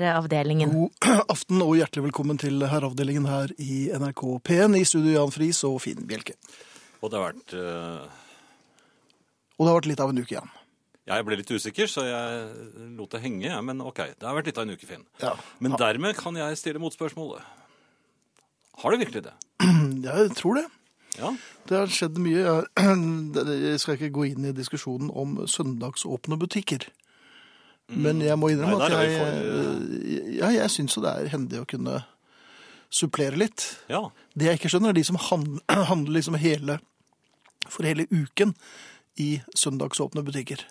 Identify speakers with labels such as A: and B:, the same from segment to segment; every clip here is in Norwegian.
A: Herreavdelingen.
B: God aften og hjertelig velkommen til herreavdelingen her i NRK P1. I studio Jan Friis og Finn Bjelke.
C: Og det har vært eh,
B: Og det har vært litt av en uke igjen.
C: Jeg ble litt usikker, så jeg lot det henge. jeg, Men OK, det har vært litt av en uke, Finn.
B: Ja.
C: Men dermed kan jeg stille motspørsmålet. Har det virkelig det?
B: Jeg tror det.
C: Ja.
B: Det har skjedd mye. Jeg- Jeg skal ikke gå inn i diskusjonen om søndagsåpne butikker. Men jeg må innrømme
C: Mm. Nei, der
B: at
C: er vi
B: jeg, ja, jeg syns jo det er hendig å kunne supplere litt.
C: ja.
B: Det jeg ikke skjønner, er de som han- handler liksom hele, for hele uken i søndagsåpne butikker.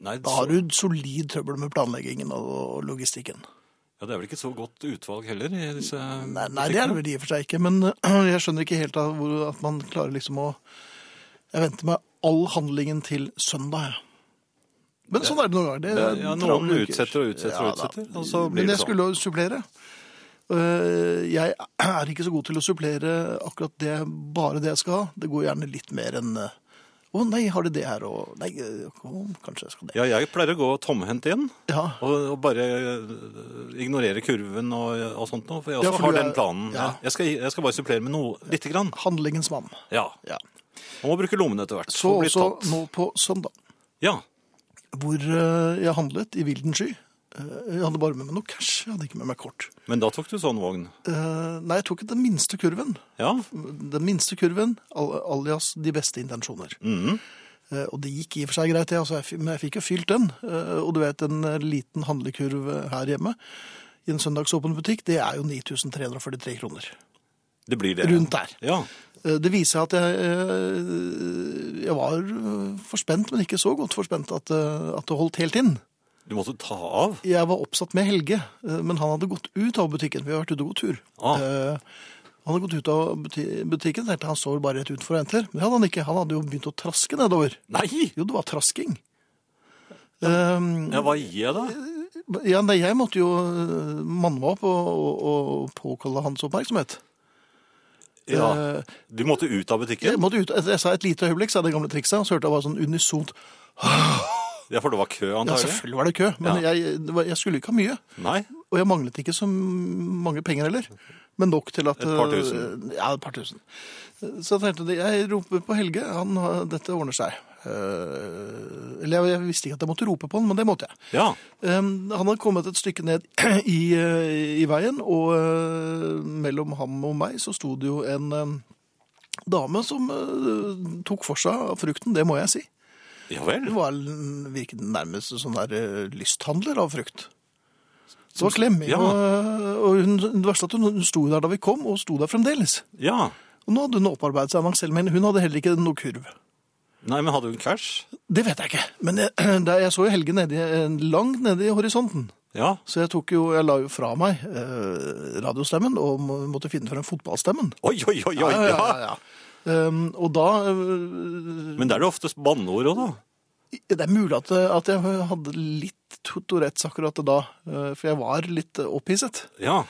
C: Nei,
B: Da
C: så,
B: har du solid trøbbel med planleggingen og og logistikken.
C: ja, det er vel ikke så godt utvalg heller i disse
B: Nei, nei det er det vel i og for seg ikke, men jeg skjønner ikke helt av hvor, at man klarer liksom å Jeg venter med all handlingen til søndag, jeg. Men sånn er det noen ganger. Det, er
C: det- ja,
B: en
C: noen
B: travle uker.
C: utsetter og utsetter og
B: da.
C: utsetter, og så blir
B: sånn. Men
C: det
B: jeg skulle jo supplere. Øh, Jeg er ikke så god til å supplere akkurat det, bare det jeg skal ha. Det går gjerne litt mer enn øh, Å nei, har de det her, og Nei, øh, kanskje jeg skal det.
C: Ja, jeg pleier å gå tomhendt inn.
B: Ja.
C: Og, og bare eh, ignorere kurven og, og sånt noe. For jeg
B: Ja,
C: også
B: for
C: har
B: du er-
C: den planen.
B: ja.
C: Jeg, skal, jeg skal bare supplere med noe lite grann.
B: Handlingens mann.
C: Ja.
B: Ja.
C: Man må bruke lommene etter hvert.
B: Så
C: for å bli
B: også
C: tatt.
B: nå på søndag.
C: Ja.
B: hvor eh, jeg handlet i vilden sky. Eh, Jeg hadde bare med meg noe cash, jeg hadde ikke med meg kort.
C: Men da tok du sånn vogn.
B: Eh, Nei, jeg tok den minste kurven.
C: Ja.
B: Den minste kurven, al- alias de beste intensjoner.
C: Mhm.
B: Eh, Og det gikk i og for seg greit, jeg, altså, jeg fi- men jeg fikk jo fylt den. Eh, Og du vet, en eh, liten handlekurv eh, her hjemme i en søndagsåpen butikk, det er jo 9343 kroner.
C: Det blir det.
B: Rundt der.
C: Ja.
B: Eh, Det viser at jeg, eh, jeg var eh, forspent, men ikke så godt forspent at, eh, at det holdt helt inn.
C: Du måtte ta av.
B: Jeg var oppsatt med Helge, eh, men han hadde gått ut av butikken. Vi har vært ute og gått tur.
C: Ah.
B: Eh, Han hadde gått ut av buti- butikken, tenkte han så bare rett ut for Entler. Men det hadde han ikke. Han hadde jo begynt å traske nedover.
C: Nei!
B: Jo, det var trasking. Eh,
C: Ja, hva gir jeg da?
B: ja, nei, jeg måtte jo eh, manne meg opp og, og, og påkalle hans oppmerksomhet.
C: Ja.
B: Eh,
C: Du måtte ut av
B: Jeg,
C: butikken?
B: måtte ut, jeg sa et lite øyeblikk, sa det gamle trikset, og så hørte jeg bare sånn unisont
C: Ja, for det var kø,
B: Ja,
C: antagelig?
B: selvfølgelig var det kø, men
C: Ja.
B: jeg, det var, jeg skulle ikke ha mye.
C: Nei.
B: Og jeg manglet ikke så mange penger heller, men nok til at
C: Et par tusen.
B: eh, Ja, et par tusen. Så jeg tenkte jeg roper på Helge, han, har- dette ordner seg. Eh, Eller jeg, jeg visste ikke at jeg måtte rope på han, men det måtte jeg.
C: Ja.
B: Eh, Han hadde kommet et stykke ned i, eh, i veien, og eh, mellom ham og meg så sto det jo en eh, dame som eh, tok for seg frukten, det må jeg si.
C: Ja
B: Det
C: vel.
B: var en- virket nærmest som sånn der eh, lysthandler av frukt. Det var klemming,
C: Ja.
B: og, eh, og hun, det verste at hun, hun sto der da vi kom, og sto der fremdeles.
C: Ja.
B: Og nå hadde hun opparbeidet seg en aksel, men hun hadde heller ikke noe kurv.
C: Nei, men hadde hun cash?
B: Det vet jeg ikke, men jeg, der, jeg så jo Helge nedi, eh, langt nede i horisonten.
C: Ja.
B: Så jeg, tok jo, jeg la jo fra meg eh, radiostemmen og må- måtte finne frem fotballstemmen.
C: Oi, oi, oi, oi, ja.
B: ja. Um, og da eh,
C: Men det er det oftest banneord òg, da.
B: Det er mulig at, at jeg hadde litt Tourettes akkurat da, eh, for jeg var litt opphisset.
C: Ja.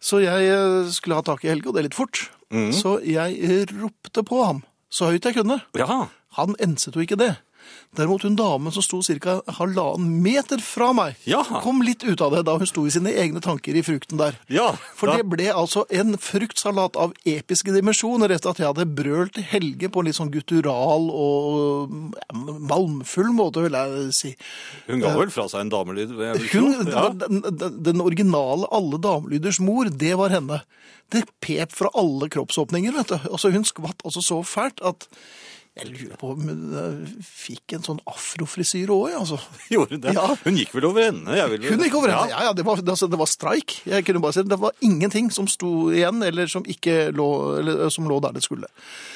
B: Så jeg eh, skulle ha tak i Helge, og det litt fort. Så jeg ropte på ham så høyt jeg kunne.
C: Ja.
B: Han enset jo ikke det. Derimot hun damen som sto ca. halvannen meter fra meg,
C: Ja.
B: kom litt ut av det da hun sto i sine egne tanker i frukten der.
C: Ja.
B: For det ble altså en fruktsalat av episke dimensjoner etter at jeg hadde brølt til Helge på en litt sånn guttural og ja, malmfull måte, vil jeg si.
C: Hun ga vel fra seg en damelyd? vil jeg
B: Hun,
C: tro.
B: det
C: ja.
B: var den, den- den originale alle damelyders mor, det var henne. Det pep fra alle kroppsåpninger, vet du. Altså, hun skvatt altså så fælt at jeg lurer på om hun eh, fikk en sånn afrofrisyre òg, altså.
C: Gjorde hun det?
B: Ja.
C: Hun gikk vel over ende? Jeg vil...
B: Hun gikk over henne. Ja, ja, det var, altså, det var streik. Jeg kunne bare si det. Det var ingenting som sto igjen, eller som ikke lå, eller, eh, som lå der det skulle.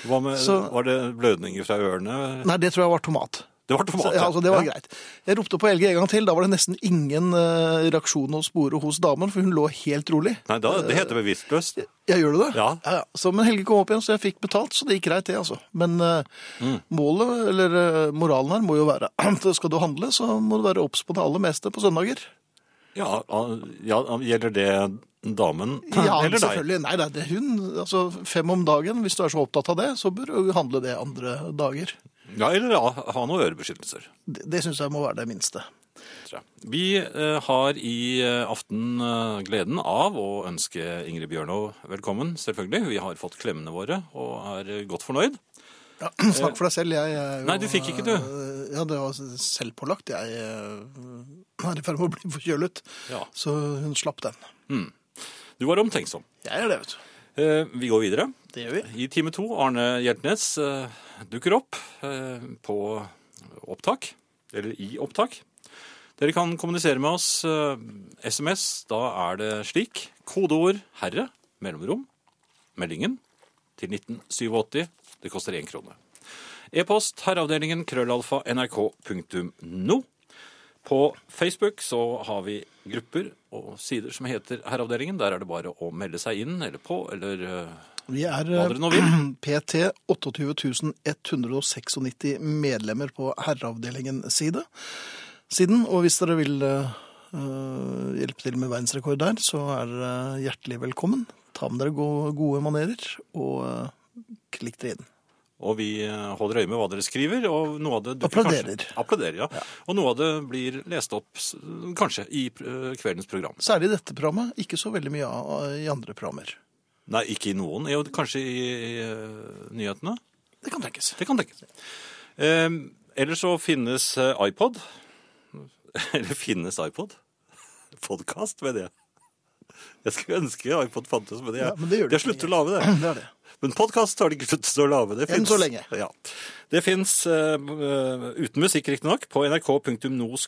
C: Hva med,
B: Så-
C: Var det blødninger fra ørene?
B: Nei, det tror jeg var tomat.
C: Det var tomat.
B: Så, ja, altså, det var
C: ja.
B: greit. Jeg ropte på Elge en gang til. Da var det nesten ingen eh, reaksjon å spore hos damen, for hun lå helt rolig.
C: Nei, da, det heter bevisstløst.
B: Jeg gjør det, det?
C: Ja.
B: ja, Så, men Helge kom opp igjen, så jeg fikk betalt, så det gikk greit, det, altså. Men eh,
C: Mm.
B: målet, eller eh, moralen her, må jo være at skal du handle, så må du være obs på det aller meste på søndager.
C: Ja, ja, gjelder det damen
B: Ja,
C: eller deg?
B: selvfølgelig. Nei, nei, det er hun. Altså, fem om dagen, hvis du er så opptatt av det, så bør du handle det andre dager.
C: Ja, eller ja, ha noen ørebeskyttelser.
B: Det, det syns jeg må være det minste.
C: tror jeg. Vi eh, har i eh, aften eh, gleden av å ønske Ingrid Bjørnov velkommen, selvfølgelig. Vi har fått klemmene våre og er eh, godt fornøyd.
B: Ja, snakk for deg selv. Jeg, er jo,
C: Nei, du fikk ikke, du.
B: eh, Ja, det var selvpålagt. Jeg eh, er i ferd med å bli forkjølet,
C: Ja.
B: så hun slapp den.
C: Du var omtenksom.
B: Jeg er det, vet du.
C: Eh, Vi går videre.
B: Det gjør vi.
C: I time to, Arne Hjeltnes eh, dukker opp eh, på opptak, eller i opptak. Dere kan kommunisere med oss eh, SMS, da er det slik. Kodeord 'herre', mellomrom, meldingen, til 1987. Det koster én krone. E-post herreavdelingen krøllalfa nrk.no. På Facebook så har vi grupper og sider som heter Herreavdelingen. Der er det bare å melde seg inn eller på eller eh,
B: Vi er
C: Hva dere nå vil.
B: eh, PT 28.196 medlemmer på herreavdelingen side. Siden, og hvis dere vil eh, eh, hjelpe til med verdensrekord der, så er dere hjertelig velkommen. Ta med dere go- gode manerer, og eh, klikk dere inn.
C: Og vi eh, holder øye med hva dere skriver, og noe av det dukker
B: Applauderer.
C: kanskje- Applauderer, ja. Og noe av det blir lest opp, s- kanskje, i eh, kveldens program.
B: Særlig i dette programmet, ikke så veldig mye av- i andre programmer.
C: Nei, ikke i noen. Jo, kanskje i, i eh, nyhetene.
B: Det kan tenkes.
C: Det kan tenkes. Eh, ellers så finnes eh, iPod. Eller finnes iPod? Podkast, mener jeg. Jeg skulle ønske iPod fantes, men jeg,
B: Ja, men det gjør det
C: jeg slutter å lage det.
B: Det er det.
C: Men podkast har de ikke sluttet å lage. Det
B: Enn
C: finnes-
B: så lenge.
C: Ja. Det fins, uten musikk riktignok, på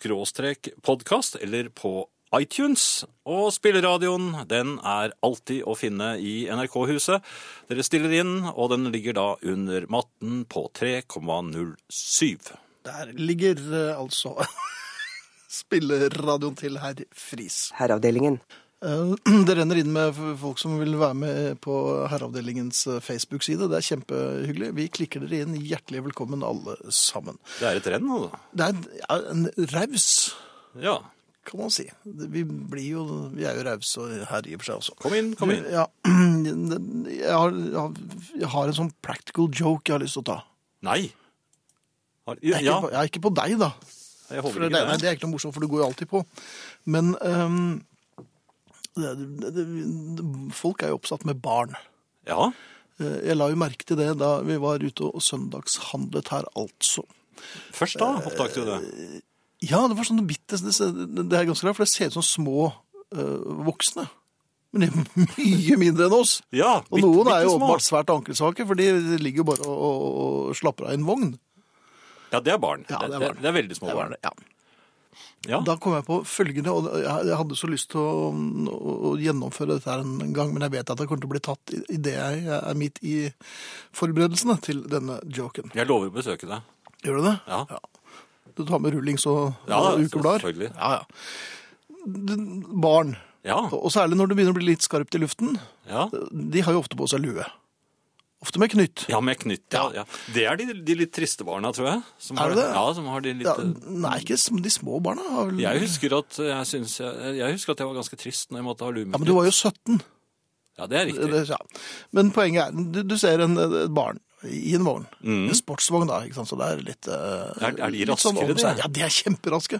C: nrk.no-podkast eller på iTunes. Og spilleradioen den er alltid å finne i NRK-huset. Dere stiller inn, og den ligger da under matten på 3,07.
B: Der ligger eh, altså spilleradioen til herr Friis.
A: Herreavdelingen.
B: Eh, Det renner inn med f- folk som vil være med på herreavdelingens eh, Facebook-side. Det er kjempehyggelig. Vi klikker dere inn. Hjertelig velkommen, alle sammen.
C: Det er et renn, altså.
B: Det er en- ja, en raus,
C: Ja.
B: kan man si. Det- Vi, blir jo, vi er jo rause her i og for seg også.
C: Kom inn, kom inn.
B: Ja, jeg, har, jeg har en sånn practical joke jeg har lyst til å ta.
C: Nei. Har-
B: Jeg er ikke,
C: Ja,
B: på, jeg er ikke på deg, da.
C: jeg
B: For
C: håper
B: det, nei,
C: ikke det.
B: det er ikke noe morsomt, for du går jo alltid på. Men ehm, det, det, det, folk er jo oppsatt med barn.
C: Ja.
B: Eh, Jeg la jo merke til det da vi var ute og søndagshandlet her, altså.
C: Først da oppdaget du det.
B: Ja, det var sånne bitte Det, det er ganske rart, for det ser ut som små eh, voksne. Men de er mye mindre enn oss.
C: Ja,
B: Og
C: bitte-
B: noen er jo
C: bittesmå.
B: åpenbart svært ankelsvake, for de ligger jo bare og, og, og slapper av i en vogn.
C: Ja, det er barn.
B: Ja,
C: det,
B: det er
C: det,
B: barn.
C: det er veldig små
B: Det var
C: barn.
B: det, ja.
C: Ja.
B: Da kom jeg på følgende, og jeg jeg hadde så lyst til å, å, å gjennomføre dette her en gang, men jeg vet at jeg kommer til å bli tatt i- i det jeg er midt i forberedelsene til denne joken.
C: Jeg lover å besøke deg.
B: Gjør du det?
C: Ja.
B: Du tar med rullings og,
C: Ja,
B: og
C: da,
B: ukeblader?
C: selvfølgelig.
B: Ja, ja. D- Barn,
C: Ja,
B: og og særlig når det begynner å bli litt skarpt i luften,
C: ja.
B: de har jo ofte på seg lue. Ofte med knytt.
C: ja med knytt. Ja, ja. Det er de, de litt triste barna, tror jeg. Som
B: Er
C: har,
B: det det?
C: Ja, som har de litt...
B: Ja, nei, ikke sm- de små barna. Har vel...
C: Jeg husker, at jeg, synes jeg, jeg husker at jeg var ganske trist når jeg måtte ha lue
B: Ja,
C: med
B: men du var
C: knytt.
B: jo 17.
C: Ja, det er riktig.
B: Det, ja. Men poenget er, du, du ser en, et barn i en vogn. En sportsvogn, da. ikke sant? Så det er litt eh,
C: Mm. Er- er de
B: litt sånn
C: raskere,
B: om seg.
C: de?
B: Ja, de er kjemperaske.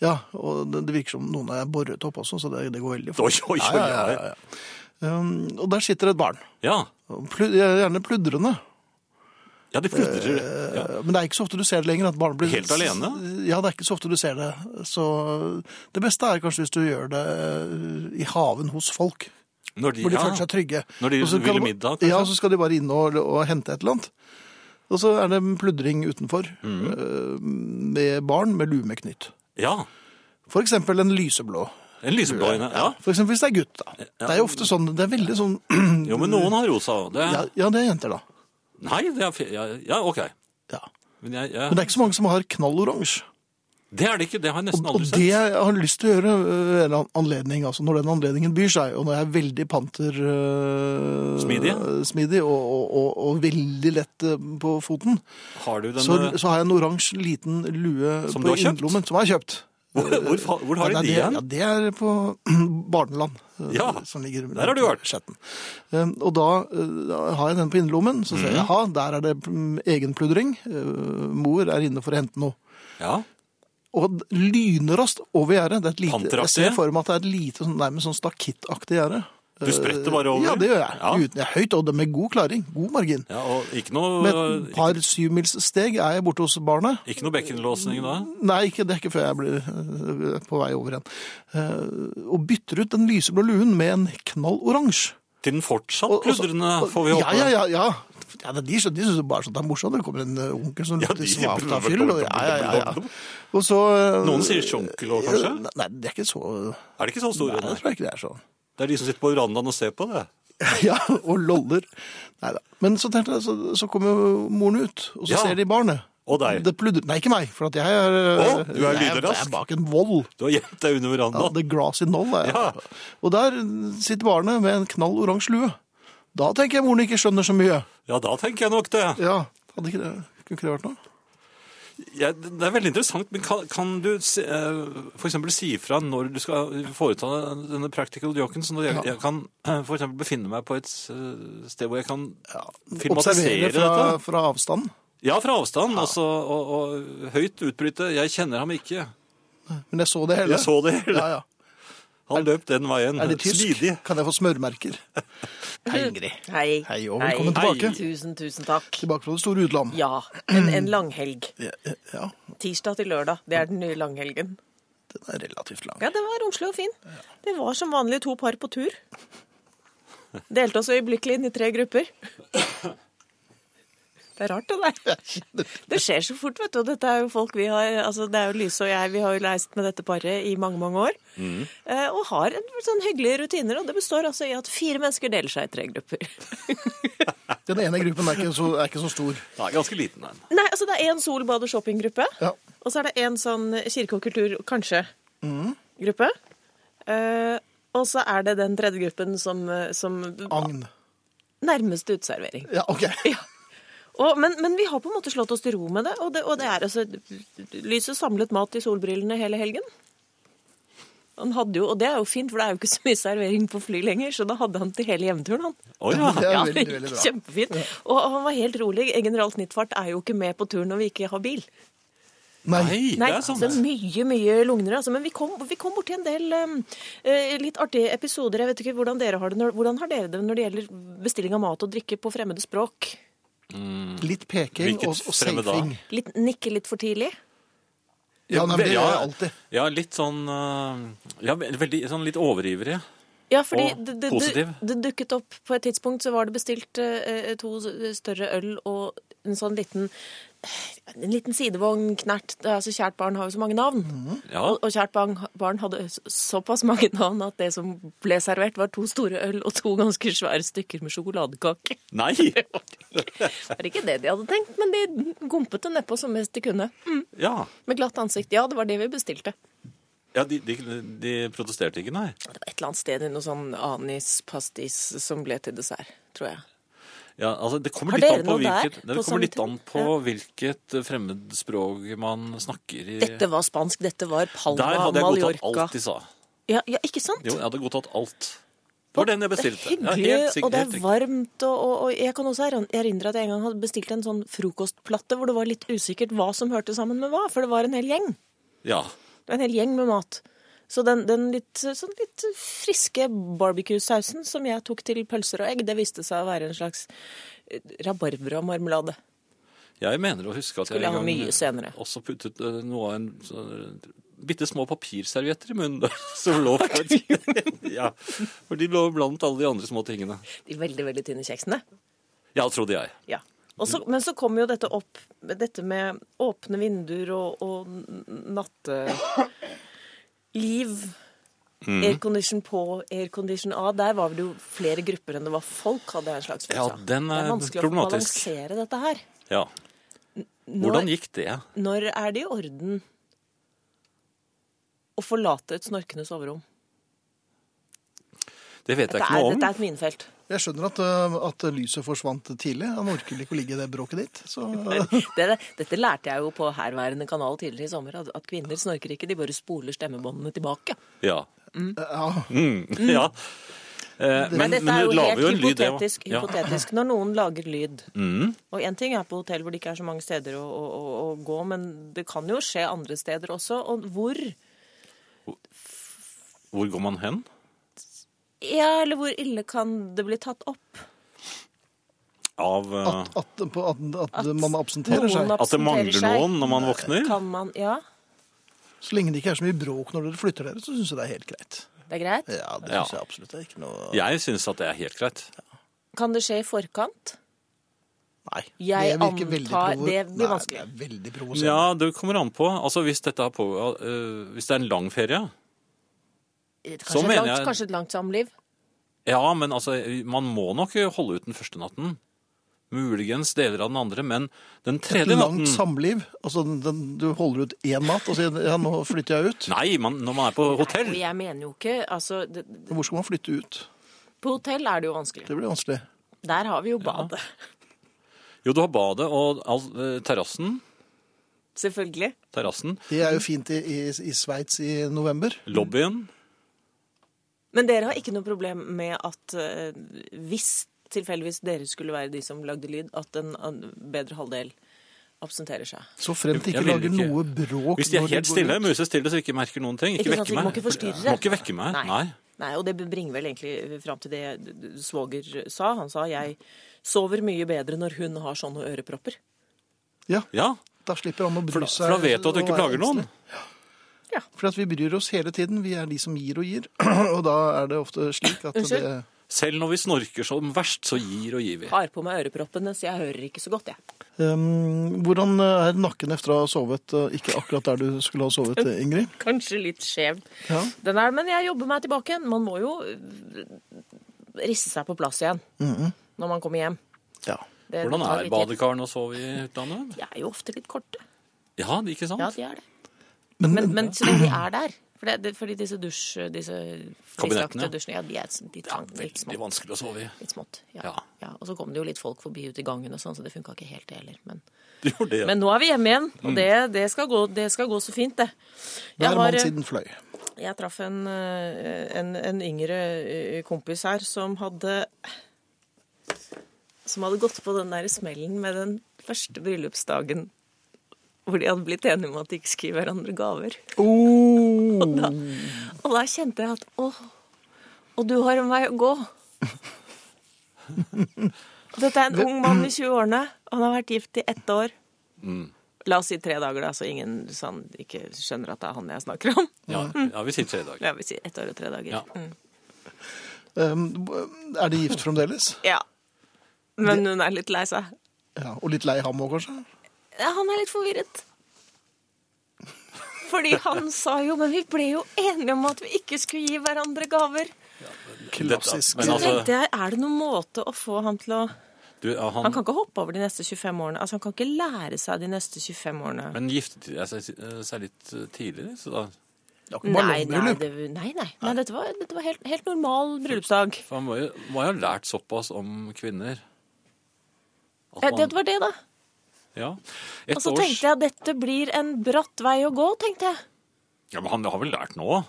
C: Ja.
B: Og det, det virker som noen er boret opp også, så det, det går veldig
C: Oi,
B: fort.
C: oi, oi.
B: Ja, ja, ja, ja, ja. Um, og der sitter et barn.
C: Ja,
B: Og plu- Gjerne pludrende.
C: ja det pludrer. Ja.
B: Eh, Men det er ikke så ofte du ser det lenger. at barn blir...
C: Helt alene?
B: Ja, det er ikke så ofte du ser det. Så det beste er kanskje hvis du gjør det eh, i haven hos folk.
C: Når de,
B: Hvor de
C: ja.
B: føler seg trygge.
C: Når de
B: Og så kan
C: vil middag, kanskje?
B: Ja, så skal de bare inn og, og hente et eller annet. Og så er det en pludring utenfor
C: Mm.
B: eh, med barn med lue med knytt.
C: Ja,
B: For eksempel en lyseblå.
C: en lyseblå øyne. Ja.
B: For eksempel hvis det er gutt, da. Det er jo ofte sånn, det er veldig sånn
C: Jo, men noen har rosa. Det
B: ja,
C: er...
B: ja, det er jenter, da.
C: Nei, det er... fe- Ja, ja ok.
B: Ja.
C: Men jeg,
B: Men
C: jeg...
B: det er ikke så mange som har knalloransje.
C: Det er det ikke, det har jeg
B: Og,
C: nesten
B: og
C: aldri
B: det
C: sett.
B: jeg har lyst til å gjøre ved en anledning, altså når den anledningen byr seg, og når jeg er veldig panter eh,
C: Smidig?
B: smidig og, og, og, og veldig lett eh, på foten,
C: Har du eh,
B: så,
C: denne...
B: så har jeg en oransje liten lue
C: Som
B: på
C: du har kjøpt?
B: innerlommen som jeg har kjøpt.
C: Hvor, hvor, fa- hvor har
B: Nei,
C: de de
B: det,
C: igjen?
B: ja, det er på Barneland. eh,
C: Ja,
B: som ligger
C: der har du vært.
B: Skjetten. Eh, Og da eh, da har jeg den på innerlommen, så
C: Mhm.
B: ser jeg jaha, der er det mm, egen pludring. Eh, Mor er inne for å hente noe.
C: Ja.
B: Og lynraskt over gjerdet. Det er et lite- Jeg
C: Panteraktig?
B: ser for meg at det er et lite, sånn, nærmest sånn stakittaktig gjerde.
C: Du spretter bare over?
B: Ja, det gjør jeg.
C: Ja.
B: Uten, jeg er høyt, og det med god klaring. God margin.
C: Ja, og ikke noe,
B: Med et par syvmilssteg er jeg borte hos barnet.
C: ikke noe bekkenlåsning da?
B: Nei, ikke, det er ikke før jeg blir øh, på vei over igjen. Eh, og bytter ut den lyseblå luen med en knalloransje.
C: Til den fortsatt
B: Og- og så-
C: pludrende,
B: og-
C: får vi
B: Ja,
C: håpe.
B: ja, ja. ja. ja det, de skjø- de syns jo bare sånt er morsomt. Det kommer en eh, onkel som
C: Ja,
B: lukter
C: de-
B: svakt av fyll. Og, ja, ja, ja, ja. og så eh,
C: Noen sier sjunkel òg, kanskje?
B: eh, Nei, det er ikke så
C: Er det ikke så store?
B: Nei, jeg tror ikke det er sånn.
C: Det er de som sitter på verandaen og ser på det.
B: ja, og loller. Nei da. Men så, tenkte jeg, så, så kommer jo moren ut, og så
C: Ja.
B: ser de barnet.
C: Og deg.
B: Det pludrer. Nei, ikke meg, for at jeg er,
C: Å, du er
B: jeg er-
C: lydrask.
B: Jeg er bak en vold.
C: Du har gjemt deg under
B: Ja,
C: verandaen.
B: The Grassy Knoll. er jeg.
C: Ja.
B: Og der sitter barnet med en knall oransje lue. Da tenker jeg moren ikke skjønner så mye.
C: Ja, da tenker jeg nok det.
B: Ja, hadde ikke det, Kunne ikke det vært noe?
C: Ja, det er veldig interessant, men kan, kan du si, eh, for eksempel si fra når du skal foreta denne practical joken, sånn at jeg, jeg kan eh, for eksempel befinne meg på et eh, sted hvor jeg kan filmatisere
B: Observere fra,
C: dette?
B: fra avstand.
C: Ja, fra avstand, altså, og, og høyt utbryte. Jeg kjenner ham ikke.
B: Men jeg så det hele.
C: Jeg så det hele.
B: Ja, ja.
C: Han løp den veien.
B: Er det tysk?
C: Smidig.
B: Kan jeg få smørmerker? Hei, Ingrid.
A: Hei.
B: Hei, og velkommen
C: Hei.
B: tilbake.
A: Tusen, tusen takk.
B: Tilbake fra det store utland.
A: Ja, en, en langhelg.
B: Ja, ja,
A: Tirsdag til lørdag, det er den nye langhelgen.
B: den er relativt lang.
A: Ja, den var romslig og fin. Det var som vanlig to par på tur. Delte oss øyeblikkelig inn i tre grupper. Det er rart, det der. Det skjer så fort, vet du. og Dette er jo folk vi har Altså, det er jo Lyse og jeg, vi har jo reist med dette paret i mange, mange år.
B: Mm.
A: Eh, Og har en sånn hyggelige rutiner, og det består altså i at fire mennesker deler seg i tre grupper.
B: Den ene gruppen er ikke så, er ikke så stor.
C: Nei, ganske liten en.
A: Nei, altså det er én sol, bad og shoppinggruppe.
B: Ja.
A: Og så er det én sånn kirke og kultur, kanskje, gruppe. Eh, og så er det den tredje gruppen som, eh, som
B: Agn.
A: nærmeste uteservering.
B: Ja, OK.
A: Og, men, men vi har på en måte slått oss til ro med det. Og det, og det er altså Lyset samlet mat i solbrillene hele helgen. Han hadde jo, Og det er jo fint, for det er jo ikke så mye servering på fly lenger, så da hadde han til hele hjemturen, han.
C: Å ja.
B: Det er
A: Ja,
B: veldig, veldig bra.
A: Kjempefint. Og han var helt rolig. General Snittfart er jo ikke med på tur når vi ikke har bil.
B: Nei.
C: Nei, det
A: Nei,
C: er sånn. sant.
A: altså mye, mye lugnere. Altså. Men vi kom, vi kom borti en del um, eh, litt artige episoder. Jeg vet ikke hvordan dere har det når, hvordan har dere det når det gjelder bestilling av mat og drikke på fremmede språk?
B: Litt peking
C: Hvilket
B: og, og
C: fremme da?
B: safing.
A: Litt, nikke litt for tidlig?
B: Ja, nei, men det
C: Ja.
B: gjør jeg alltid.
C: Ja, litt sånn eh, Ja, veldig sånn litt overivrig.
A: Ja, fordi
C: Og
A: det, det, det,
C: positiv.
A: det dukket opp på et tidspunkt, så var det bestilt eh, to større øl og en sånn liten en liten sidevogn, knert Det er altså Kjært barn har jo så mange navn.
C: Ja.
A: Og, og kjært barn, barn hadde s- såpass mange navn at det som ble servert, var to store øl og to ganske svære stykker med sjokoladekake.
C: Nei!
A: Det var ikke det de hadde tenkt, men de gumpet det nedpå som mest de kunne. Mm.
C: Ja.
A: Med glatt ansikt. Ja, det var det vi bestilte.
C: Ja, de, de, de protesterte ikke, nei.
A: Det var et eller annet sted i noe sånn anis-pastis som ble til dessert, tror jeg.
C: Ja, altså, det kommer
A: Har
C: litt
A: dere
C: an på
A: noe der,
C: hvilket, Nei, det
A: på sånn-
C: kommer litt
A: sånne
C: an på hvilket eh, fremmedspråk man snakker i
A: Dette var spansk, dette var Palma,
C: Der hadde jeg godtatt
A: Mallorca.
C: alt de sa.
A: Ja, ja, ikke sant?
C: Jo, jeg hadde godtatt alt. Det var den jeg bestilte.
A: Det er hyggelig,
C: ja, helt sikkert,
A: og det
C: helt
A: er
C: riktig.
A: varmt. Og, og, og jeg kan også eran- erindre at jeg en gang hadde bestilt en sånn frokostplatte hvor det var litt usikkert hva som hørte sammen med hva, for det var en hel gjeng.
C: Ja.
A: Det var en hel gjeng med mat. Så den, den litt, sånn litt friske barbecue-sausen som jeg tok til pølser og egg, det viste seg å være en slags eh, rabarbramarmelade.
C: Jeg mener å huske at jeg
A: Skulle
C: en
A: jeg ha
C: gang
A: mye senere.
C: også puttet eh, noe av en sånn, bitte små papirservietter i munnen som lå på et Ja, for de lå blant alle de andre små tingene.
A: De veldig, veldig tynne kjeksene.
C: Ja, trodde jeg.
A: Ja. Og så- men så kom jo dette opp, dette med åpne vinduer og, og natteliv.
C: Mm.
A: Aircondition på, aircondition av. Der var det jo flere grupper enn det var folk, hadde jeg en slags
C: Ja,
A: følelse av.
C: den
A: Det
C: er
A: er vanskelig å
C: problematisk.
A: balansere dette her.
C: Ja. Hvordan gikk det?
A: Når er det i orden å forlate et snorkende soverom?
C: Det vet jeg
A: Dette
C: ikke
A: er,
C: noe om.
A: dette er et minefelt.
B: Jeg skjønner at, øh, at lyset forsvant tidlig. Han orker ikke å ligge i det bråket ditt. Så øh,
A: Dette, dette lærte jeg jo på herværende kanal tidligere i sommer, at, at kvinner snorker ikke, de bare spoler stemmebåndene tilbake.
C: Ja.
B: ja.
C: Mm. ja. Eh,
A: Men, dette er
C: du
A: jo
C: lager
A: helt
C: en lyd, det, ja.
A: hypotetisk,
C: Ja.
A: hypotetisk. Når noen lager lyd
C: Mm.
A: Og én ting er på hotell hvor det ikke er så mange steder å, å, å, å gå, men det kan jo skje andre steder også. Og hvor
C: Hvor går man hen?
A: Ja, eller hvor ille kan det bli tatt opp?
C: Av eh,
B: At, at, på- at, at,
A: At
B: man absenterer seg.
A: noen
C: at det mangler
A: seg.
C: noen når man våkner?
A: Kan man Ja,
B: Så lenge det ikke er så mye bråk når dere flytter dere, så syns jeg det er helt greit.
A: det er greit.
B: Ja, det
C: Ja.
B: synes jeg absolutt. Det er ikke noe
C: Jeg syns at det er helt greit.
A: Kan det skje i forkant?
B: Nei.
A: Jeg
B: det virker veldig
A: antar-
B: provo-
A: det blir
B: Nei,
A: vanskelig.
B: det er veldig provoserende.
C: Ja, det kommer an på. Altså, hvis, dette er på eh, hvis det er en lang ferie
A: Kanskje,
C: Så
A: et
C: Sånn mener
A: langt,
C: jeg-
A: kanskje et langt samliv?
C: Ja, men altså, man må nok holde ut den første natten. Muligens deler av den andre, men den
B: Et
C: tredje natten
B: langt samliv. Altså, den, den, du holder ut én natt og sier ja, nå flytter jeg ut.
C: Nei, man, når man er på hotell.
A: Og jeg mener jo ikke altså, det,
B: Hvor skal man flytte ut?
A: På hotell er det jo vanskelig.
B: Det blir vanskelig.
A: Der har vi jo badet.
C: Jo, du har badet og all, eh, terrassen.
A: Selvfølgelig.
C: Terrassen.
B: Det er jo fint i, i, i Sveits i november.
C: Lobbyen.
A: Men dere har ikke noe problem med at eh, hvis tilfeldigvis dere skulle være de som lagde lyd, at en an- bedre halvdel absenterer seg?
B: Så fremt de
C: Jeg
B: ikke
C: vil
B: lager
C: ikke-
B: noe bråk
C: Hvis de er
B: når
C: helt
B: går
C: stille,
B: ut.
C: musestille, så ikke merker noen ting. Ikke,
A: sant,
C: vekke
A: så de
C: meg.
A: må ikke forstyrre.
C: Må ikke vekke meg. Nei.
A: Nei, og det bringer vel egentlig fram til det svoger sa. Han sa jeg sover mye bedre når hun har sånne ørepropper.
B: Ja,
C: Ja,
B: da slipper han å bry
C: for da,
B: seg.
C: for da vet du at du
B: og
C: ikke
B: være
C: plager noen.
B: engstelig. Fordi at vi bryr oss hele tiden. Vi er de som gir og gir. Og da er det ofte slik at det
A: Unnskyld?
C: Selv når vi snorker som verst, så gir og gir vi.
A: Har på meg øreproppene, så jeg hører ikke så godt, jeg.
B: Ehm, Hvordan er nakken etter å ha sovet? eh, Ikke akkurat der du skulle ha sovet, eh, Ingrid?
A: Kanskje litt skjev.
B: Ja.
A: Den er, men jeg jobber meg tilbake igjen. Man må jo øh, risse seg på plass igjen når man kommer hjem.
B: ja.
A: Det-
C: Hvordan
A: det tar
C: er
A: litt tid.
C: badekarene å sove i utlandet?
A: De er jo ofte litt korte.
C: Ja, ikke sant?
A: Ja, de er det.
B: Men, eh,
A: Men, men så lenge de er der for det, det, Fordi disse dusj... Disse
C: Kabinettene, ja.
A: flisakte dusjene, ja, de er s- de trang, litt
C: Veldig
A: smått.
C: vanskelig å sove i.
A: Litt smått ja.
C: Ja.
A: Ja. Og så kom det jo litt folk forbi ut i gangen, og sånn, så det funka ikke helt, det heller. Men,
C: Du gjorde det.
A: men nå er vi hjemme igjen, og det, det, skal, gå, det skal gå så fint, det.
B: hver
A: Jeg, har, eh,
B: mann siden fløy.
A: jeg traff en, eh, en, en yngre eh, kompis her som hadde Som hadde gått på den der smellen med den første bryllupsdagen hvor de hadde blitt enige om at de ikke skulle gi hverandre gaver.
B: Oh,
A: Og da kjente jeg at åh, og du har en vei å gå. Og Dette er en ung mann i 20-årene. Han har vært gift i ett år. La oss si tre dager, da, så ingen sånn, ikke skjønner at det er han jeg snakker om.
C: Ja,
A: Mm.
C: ja vi sier tre dager.
A: La oss si ett år og tre dager.
C: Ja.
A: Mm.
B: Ehm, eh, er de gift fremdeles?
A: ja. Men hun er litt lei seg.
B: Ja, og litt lei ham òg, kanskje?
A: Ja, han er litt forvirret. Fordi han sa jo Men vi ble jo enige om at vi ikke skulle gi hverandre gaver.
B: Klassisk.
C: men
A: Så
C: altså-
A: tenkte jeg, er det noen måte å få han til å
C: Du, ja,
A: Han
C: han,
A: kan ikke hoppe over de neste 25 årene. Altså, han kan ikke lære seg de neste 25 årene.
C: men giftet de seg, seg litt eh, tidligere? Så da,
B: Det er ikke
A: Nei, nei,
B: ballongbryllup.
A: det, nei, nei. nei dette var, dette var helt, helt normal bryllupsdag.
C: for han må jo, må jo ha lært såpass om kvinner. At
A: Ja,
C: man-
A: det var det, da.
C: ja, et
A: Og så
C: års,
A: tenkte jeg at dette blir en bratt vei å gå, tenkte jeg.
C: Ja, men Han har vel lært nå?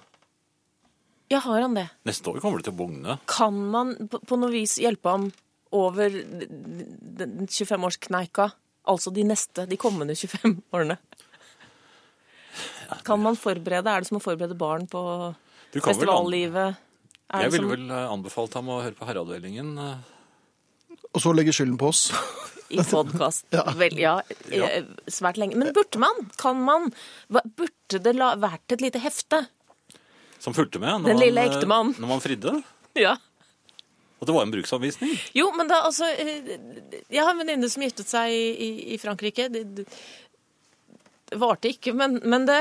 A: Ja, har han det?
C: Neste år kommer det til å bugne.
A: Kan man på, på noe vis hjelpe ham over den den 25-årskneika? Altså de neste, de kommende 25 årene. Kan man forberede? Er det som å forberede barn på
C: Du kan vel an-
A: festivallivet? Er
C: Jeg
A: det
C: ville
A: som-
C: vel eh, anbefalt ham å høre på Herreavdelingen. eh.
B: Og så legge skylden på oss.
A: I podkast. Vel, ja, eh, svært lenge. Men burde man? Kan man? Hva- Burde det la, vært et lite hefte?
C: Som fulgte med når
A: Den lille
C: eh,
A: ektemannen.
C: Når man fridde.
A: Ja.
C: Og det var en bruksanvisning.
A: Jo, men da altså eh, Jeg har en venninne som giftet seg i, i- i Frankrike. Det, det det varte ikke, men, men det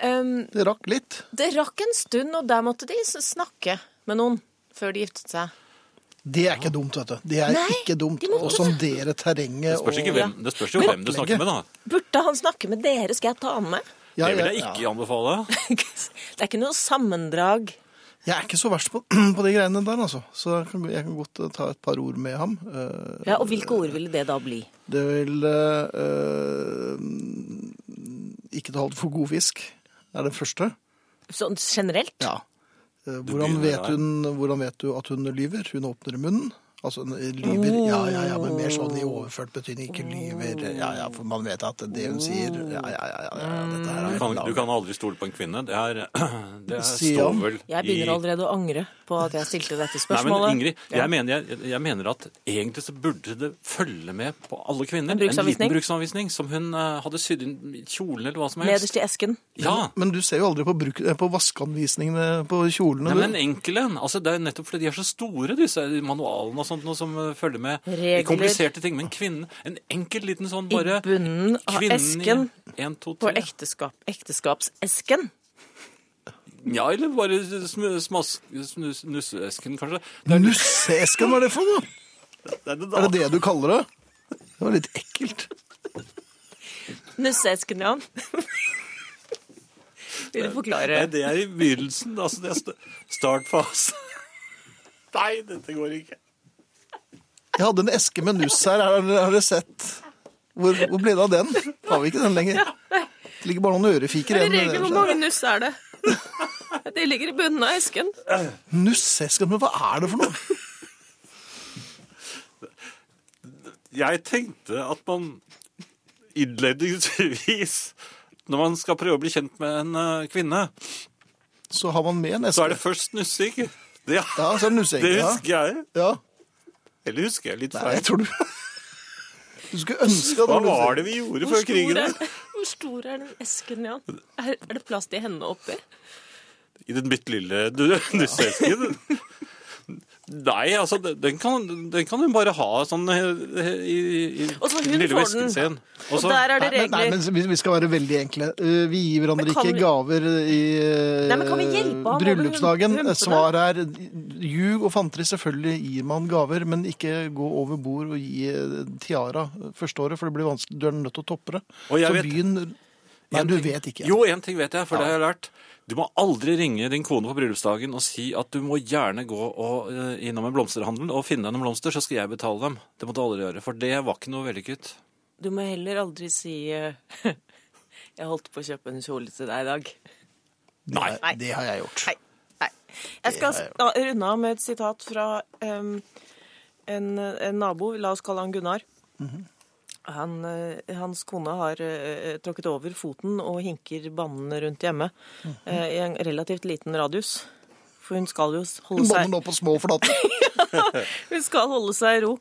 A: ehm,
B: Det rakk litt.
A: Det rakk en stund, og der måtte de s- snakke med noen før de giftet seg.
B: Det er ikke dumt, vet du. Det er
A: Nei,
B: ikke dumt.
A: de må-
B: Og som dere terrenget
C: Det spørs, ikke
B: og
C: hvem, det spørs jo hvem du snakker med, da.
A: Burde han snakke med dere? Skal jeg ta han med?
B: Ja,
C: det vil
B: jeg-
C: jeg ikke anbefale.
A: det er ikke noe sammendrag.
B: Jeg er ikke så verst på, på de greiene der, altså. Så jeg kan, jeg kan godt eh, ta et par ord med ham. Eh,
A: Ja, Og hvilke ord ville det da bli?
B: Det vil eh, eh, Ikke ta alt for god fisk, er det første.
A: Sånn generelt?
B: Ja. Eh, Hvordan
C: begynner
B: vet,
C: der.
B: hun, hvordan vet du at hun lyver? Hun åpner munnen. Altså, hun lyver, ja, ja, ja, men mer sånn i overført betydning. Ikke lyver, ja, ja, for man vet at det hun sier, ja, ja, ja, ja, ja dette her
C: Du
B: er
C: kan,
B: lavt.
C: du kan aldri stole på en kvinne. Det, er, det er,
B: Sian.
C: står vel
A: Jeg
C: i
A: begynner allerede å angre på at jeg stilte
C: Nei,
A: dette
C: men
A: spørsmålet.
C: Ingrid,
A: Ja.
C: jeg mener, jeg, jeg mener at egentlig så burde det følge med på alle kvinner.
A: En
C: En,
A: bruksanvisning?
C: liten bruksanvisning som hun eh, hadde sydd inn i kjolen eller hva som helst.
A: Nederst i esken.
C: Ja,
B: Men du ser jo aldri på, bruk, eh, på vaskeanvisningene på kjolene.
C: Nei, men
B: du.
C: enkel en. Altså, det er nettopp fordi de er så store, disse manualene og sånt, noe som eh, følger med
A: Regler.
C: i kompliserte ting. Men kvinnen, en enkel liten sånn bare
A: I bunnen av esken.
C: i en, to,
A: På
C: tre.
A: ekteskap, ekteskapsesken.
C: Ja, eller bare sm- smas- snus- nusseesken, kanskje. Det er,
B: Nusseesken, hva er det for noe?
C: det er det
B: Er
C: da.
B: det det du kaller det? Det var litt ekkelt.
A: Nusseesken, ja. Vil du forklare?
C: Nei, det er i begynnelsen. Altså, det er st- startfase. Nei, dette går ikke.
B: Jeg hadde en eske med nuss her, har dere- har dere sett? Hvor, hvor ble det av den? Har vi ikke den lenger? Det ligger bare noen ørefiker
A: Er
B: igjen. eh,
A: det regler hvor mange nuss er det? Det ligger i bunnen av esken.
B: Nusseesken, men hva er det for noe?
C: Jeg tenkte at man innledningsvis, når man skal prøve å bli kjent med en eh, kvinne,
B: Så har man med en eske.
C: så er det først nussing. Det,
B: Ja, så er det nusseegg.
C: det
B: ja.
C: husker jeg.
B: Ja.
C: Eller husker jeg litt
B: Nei, jeg
C: feil.
B: tror du Du skulle ønske at
C: Hva
B: var
C: var det vi gjorde før krigen?
A: er,
C: da?
A: hvor stor er den esken, Jan? Er, er det plass til henne oppi?
C: I den bitte lille du- nusseesken? Nei, altså, den- den kan, den kan hun bare ha sånn eh, i, i
A: Og så hun
C: den lille
A: får
C: vesken
A: den.
C: sin. Og
A: Og
C: så-
A: der er det
B: Nei, men, nei,
A: regler.
B: men vi, vi skal være veldig enkle. Eh, Vi gir hverandre
A: Men kan
B: ikke
A: vi-
B: gaver i eh,
A: Nei, men kan vi hjelpe ham over
B: bryllupsdagen.
A: hump- humpene?
B: Svaret er ljug og fanteri. Selvfølgelig gir man gaver, men ikke gå over bord og gi eh, tiara første året, for det blir vanskelig. Du er nødt til å toppe det.
C: Og jeg
B: Så
C: vet-
B: begynn Nei,
C: En
B: du
C: ting-
B: vet ikke.
C: Jo, én ting vet jeg, for det har jeg lært. Du må aldri ringe din kone på bryllupsdagen og si at du må gjerne gå og, eh, innom en blomsterhandel og finne deg noen blomster, så skal jeg betale dem. Det må du aldri gjøre, for det var ikke noe vellykket.
A: Du må heller aldri si eh, Jeg holdt på å kjøpe en kjole til deg i dag.
C: Nei.
A: Nei.
B: Det har jeg gjort.
A: Nei. Nei. Jeg skal sta- runde av med et sitat fra em, en, en nabo. La oss kalle han Gunnar. Han, eh, hans kone har eh, tråkket over foten og hinker bannende rundt hjemme eh, i en relativt liten radius. For hun skal jo holde
B: Hun
A: seg
B: banner nå på små flater.
A: Hun skal holde seg i ro.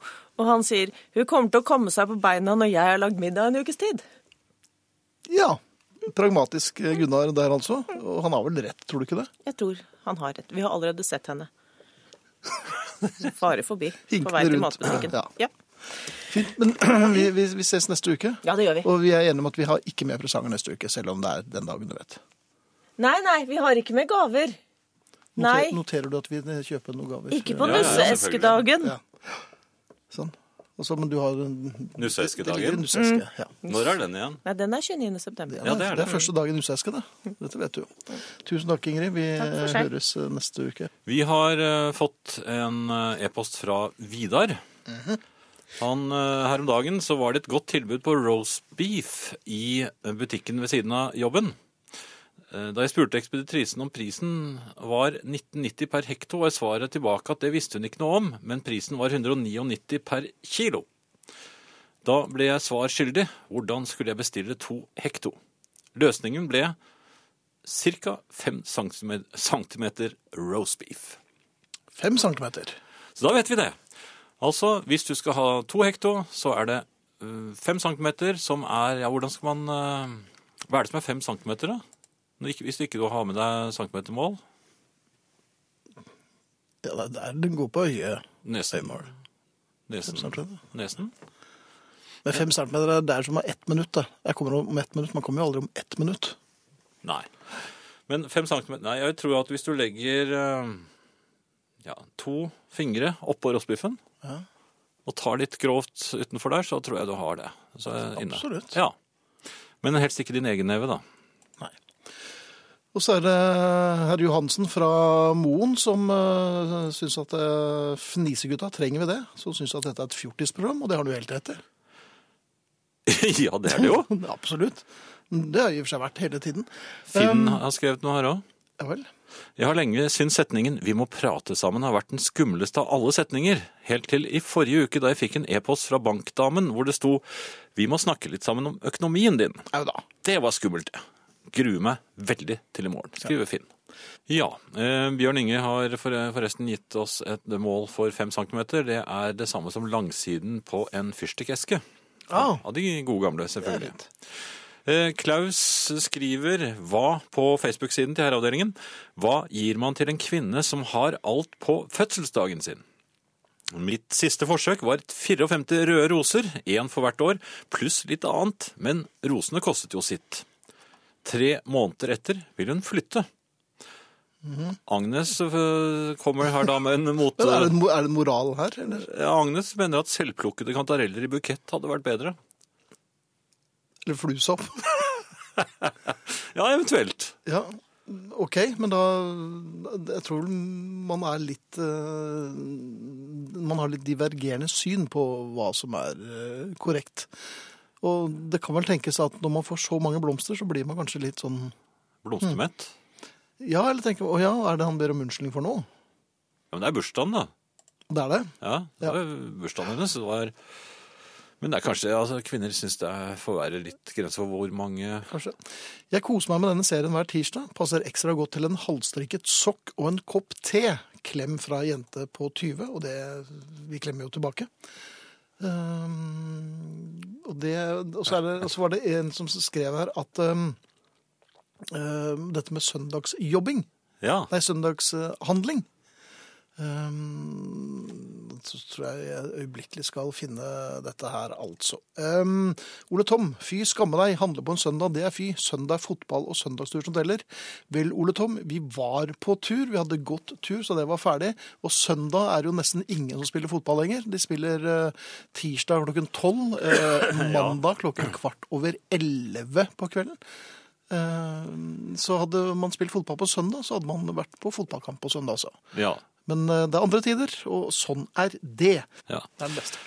A: Og han sier hun kommer til å komme seg på beina når jeg har lagd middag en ukes tid.
B: Ja. Pragmatisk eh, Gunnar der, altså. Og han har vel rett, tror du ikke det?
A: Jeg tror han har rett. Vi har allerede sett henne. Fare forbi på
B: Hinkende
A: vei til
B: rundt.
A: matbutikken.
B: Ja.
A: Ja.
B: Fint. Men vi, vi, vi ses neste uke.
A: ja, det gjør vi.
B: Og vi er enige om at vi har ikke med presanger neste uke, selv om det er den dagen du vet.
A: Nei, nei, vi har ikke med gaver.
B: Noter,
A: Nei.
B: noterer du at vi kjøper noen gaver?
A: Ikke på
C: Ja, ja, selvfølgelig.
A: nusseeskedagen.
B: Ja. Sånn. Og så, men du har en
C: Nusseeskedagen.
B: Det ligger en Nusseeske.
A: Mm.
B: Ja.
C: Når er den igjen?
A: Nei, den er 29. september.
C: Ja, det er det.
B: det er første dagen i nusseeske, det. Dette vet du jo. Tusen takk, Ingrid. Vi
A: for seg.
B: høres eh, neste uke.
C: Vi har eh, fått en eh, e-post fra Vidar. Han, eh, her om dagen så var det et godt tilbud på roast beef i butikken ved siden av jobben. Eh, Da jeg spurte ekspeditrisen om prisen var 1990 per hekto, var svaret tilbake at det visste hun ikke noe om, men prisen var 199 per kilo. Da ble jeg svar skyldig. Hvordan skulle jeg bestille to hekto? Løsningen ble ca. 5 cm roast beef.
B: Fem centimeter.
C: Så da vet vi det. Altså, hvis du skal ha to hekto, så er det øh, fem centimeter som er Ja, hvordan skal man øh, Hva er det som er fem centimeter, da? Når ikke, hvis ikke du har med deg centimetermål?
B: Ja, det er der den går på øyet.
C: Nesen.
B: Øyemål. Fem
C: Nesen.
B: centimeter.
C: Nesen.
B: sånn Men fem centimeter er der som er ett minutt. Da. Jeg kommer om ett minutt. Man kommer jo aldri om ett minutt.
C: Nei. Men fem centimeter Nei, jeg tror at hvis du legger øh, ja, to fingre oppå rostbiffen
B: Ja.
C: og tar litt grovt utenfor der, så tror jeg du har det. Så er jeg inne.
B: Absolutt.
C: Ja. Men helst ikke din egen neve, da.
B: Nei. Og så er det herr Johansen fra Moen som uh, syns at eh, Fnisegutta trenger vi det. Som syns at dette er et fjortisprogram, og det har du helt rett i.
C: ja, det er det jo.
B: Absolutt. Men Det har i og for seg vært hele tiden.
C: Finn
B: Um,
C: har skrevet noe her òg.
B: Ja vel.
C: Jeg har lenge syntes setningen 'Vi må prate sammen' har vært den skumleste av alle setninger, helt til i forrige uke da jeg fikk en e-post fra bankdamen hvor det sto 'Vi må snakke litt sammen om økonomien din'.
B: Au da.
C: Det var skummelt. Gruer meg veldig til i morgen, skriver Finn. Ja, eh, Bjørn Inge har for- forresten gitt oss et mål for fem centimeter. Det er det samme som langsiden på en fyrstikkeske.
B: Ah.
C: Av de gode gamle, selvfølgelig. Eh, Klaus skriver hva på Facebook-siden til herreavdelingen Hva gir man til en kvinne som har alt på fødselsdagen sin? Mitt siste forsøk var 54 røde roser, én for hvert år, pluss litt annet, men rosene kostet jo sitt. Tre måneder etter vil hun flytte. Agnes øh, kommer her da med en mot...
B: Men er, det, en mo- er det en moral her, eller?
C: Ja, Agnes mener at selvplukkede kantareller i bukett hadde vært bedre.
B: Eller flusopp?
C: Ja, eventuelt.
B: Ja, ok, men da Jeg tror man er litt eh, Man har litt divergerende syn på hva som er eh, korrekt. Og det kan vel tenkes at når man får så mange blomster, så blir man kanskje litt sånn
C: Blomstermett.
B: Ja, eller tenker Å ja, er det han ber om unnskyldning for nå?
C: Ja, men det er bursdagen, da.
B: Det er det.
C: Ja, det
B: Ja.
C: var jo bursdagen hennes. Det var... Men det er kanskje, altså, kvinner syns det er- får være litt grenser for hvor mange
B: Kanskje. Jeg koser meg med denne serien hver tirsdag. Passer ekstra godt til en halvstrikket sokk og en kopp te. Klem fra jente på 20, og det Vi klemmer jo tilbake. Ehm, og, det, og, så er det, og så var det en som skrev her at ehm, ehm, dette med søndagsjobbing
C: Ja.
B: Nei, søndagshandling. Ehm, så tror jeg jeg øyeblikkelig skal finne dette her, altså. Ehm, Ole Tom, fy skamme deg, handle på en søndag, det er fy. Søndag er fotball og søndagstur som teller. Vel, Ole Tom, vi var på tur, vi hadde gått tur, så det var ferdig. Og søndag er jo nesten ingen som spiller fotball lenger. De spiller eh, tirsdag klokken tolv, eh, mandag klokken kvart over elleve på kvelden. Eh, Så hadde man spilt fotball på søndag, så hadde man vært på fotballkamp på søndag også.
C: ja.
B: Men eh, det er andre tider, og sånn er det.
C: ja.
B: Det er den beste.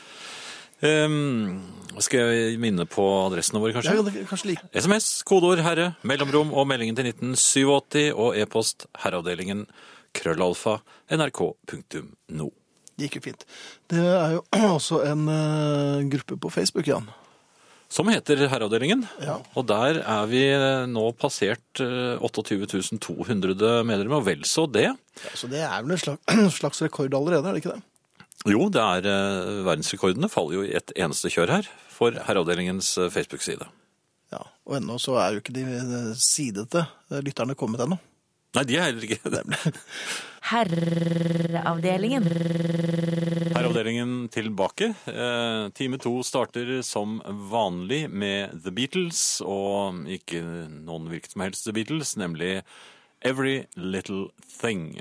C: Ehm, skal jeg minne på adressene våre,
B: Ja,
C: kanskje?
B: det er kanskje like.
C: SMS, kodeord 'herre', mellomrom og meldingen til 1987 og e-post herreavdelingen krøllalfa nrk.no.
B: Det gikk jo fint. Det er jo også en eh, gruppe på Facebook, Jan.
C: Som heter Herreavdelingen.
B: Ja.
C: Og der er vi nå passert eh, 28 200 medlemmer, og vel så det.
B: Ja, så det er vel en slags, slags rekord allerede, er det ikke det?
C: Jo, det er eh, verdensrekordene faller jo i et eneste kjør her for Herreavdelingens eh, Facebook-side.
B: Ja, Og ennå så er jo ikke de eh, sidete eh, lytterne kommet ennå.
C: Nei, de er heller ikke det.
D: Herreavdelingen.
C: Herreavdelingen tilbake. Eh, time to starter som vanlig med The Beatles, og ikke noen hvilket som helst The Beatles, nemlig Every Little Thing.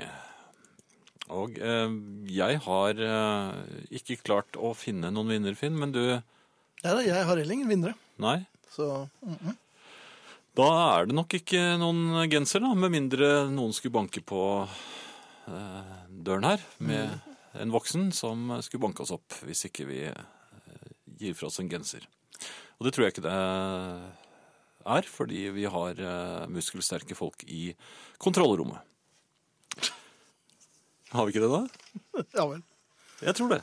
C: Og eh, jeg har eh, ikke klart å finne noen vinner, Finn, men du
B: Ja, da, jeg har heller ingen vinnere.
C: Nei.
B: Så mm, mm.
C: Da er det nok ikke noen genser, da, med mindre noen skulle banke på eh, døren her med en voksen som skulle banke oss opp hvis ikke vi eh, gir fra oss en genser. Og det tror jeg ikke det eh, er, fordi vi har eh, muskelsterke folk i kontrollrommet. Har vi ikke det, da?
B: ja vel.
C: Jeg tror det.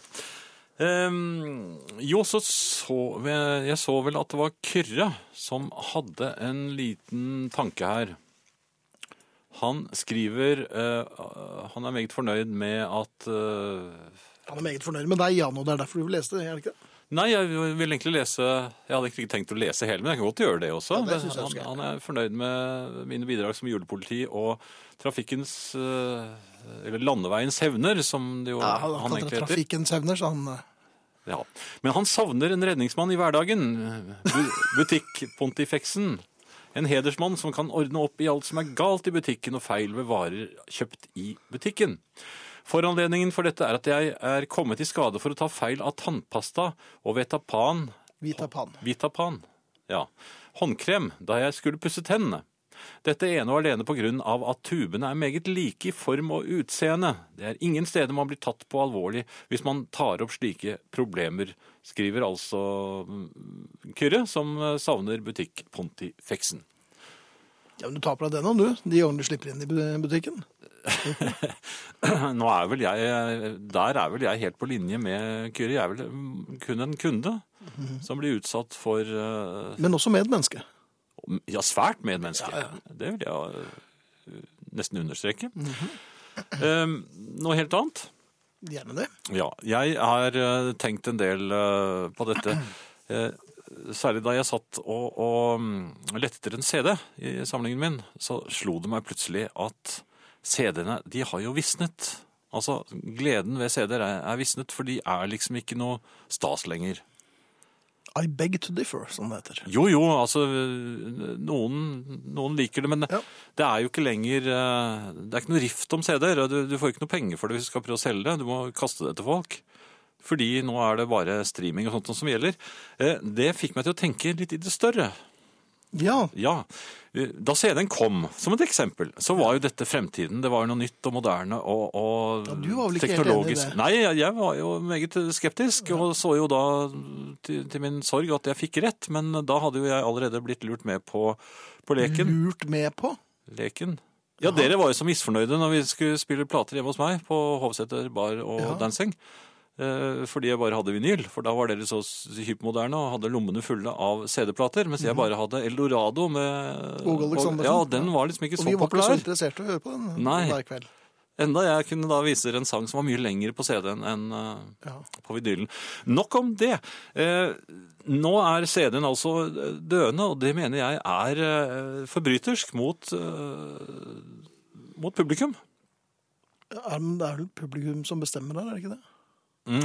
C: Ehm, jo, så så vi- jeg så vel at det var Kyrre som hadde en liten tanke her. Han skriver eh, Han er meget fornøyd med at eh,
B: Han er meget fornøyd med deg, Jan, og det er derfor du leste det, er det ikke det?
C: Nei, jeg vil egentlig lese Jeg hadde ikke tenkt å lese hele, men jeg kan godt gjøre det også.
B: Ja, det synes jeg
C: han,
B: du skal.
C: han er fornøyd med mine bidrag som julepoliti og trafikkens eh, Eller landeveiens hevner, som det jo
B: Ja,
C: han,
B: han kan
C: egentlig
B: ta
C: heter.
B: trafikkens hevner, så han eh,
C: Ja. Men han savner en redningsmann i hverdagen. Bu- Butikkpontifeksen. En hedersmann som kan ordne opp i alt som er galt i butikken og feil ved varer kjøpt i butikken. Foranledningen for dette er at jeg er kommet i skade for å ta feil av tannpasta og Vetapan
B: Vi tar pan.
C: Vitapan. Ja. Håndkrem da jeg skulle pusse tennene. Dette ene og alene på grunn av at tubene er meget like i form og utseende. Det er ingen steder man blir tatt på alvorlig hvis man tar opp slike problemer, skriver altså mm, Kyrre, som eh, savner butikk Pontifexen.
B: Ja, men Du tar på deg den nå, du. De gangene du slipper inn i bu- butikken.
C: Nå er vel jeg, Der er vel jeg helt på linje med Kyrre. Jeg er vel mm, kun en kunde som blir utsatt for eh,
B: Men også med et menneske.
C: Ja, svært medmenneske. Det vil jeg eh, nesten understreke. Eh, noe helt annet.
B: Gjerne det.
C: Ja, jeg har eh, tenkt en del eh, på dette. Eh, Særlig da jeg satt og, og mm, lette etter en CD i samlingen min, så slo det meg plutselig at CD-ene, de har jo visnet. Altså, gleden ved CD-er er, er visnet, for de er liksom ikke noe stas lenger.
B: I beg to differ, som det heter.
C: Jo, jo, altså øh, noen, noen liker det, men
B: Ja.
C: det er jo ikke lenger øh, Det er ikke noe rift om CD-er. og Du, du får ikke noe penger for det hvis du skal prøve å selge det. Du må kaste det til folk. Fordi nå er det bare streaming og sånt som gjelder. Eh, Det fikk meg til å tenke litt i det større.
B: Ja,
C: Ja. eh, Da CD-en kom, som et eksempel, så var jo dette fremtiden. Det var jo noe nytt og moderne og, og
B: Ja, du var vel ikke helt
C: teknologisk.
B: enig i det?
C: Nei, jeg, jeg var jo meget skeptisk, og så jo da til, til min sorg at jeg fikk rett. Men da hadde jo jeg allerede blitt lurt med på, på leken.
B: lurt med på.
C: leken. Ja, dere var jo så misfornøyde når vi skulle spille plater hjemme hos meg på Hovseter Bar og
B: Ja.
C: Dancing. eh, Fordi jeg bare hadde vinyl, for da var dere så s- hypermoderne og hadde lommene fulle av CD-plater, mens jeg bare hadde Eldorado med
B: Åge Mhm. Aleksandersen.
C: Ja, og den var liksom ikke
B: Og
C: så
B: vi var ikke så
C: populær.
B: interessert i å høre på den
C: Nei.
B: hver kveld.
C: Enda jeg kunne da vise dere en sang som var mye lengre på CD-en enn eh,
B: Ja.
C: på vinylen. Nok om det. Eh, nå er CD-en altså døende, og det mener jeg er eh, forbrytersk mot, eh, mot publikum.
B: Ja, men det er vel publikum som bestemmer der, er det ikke det?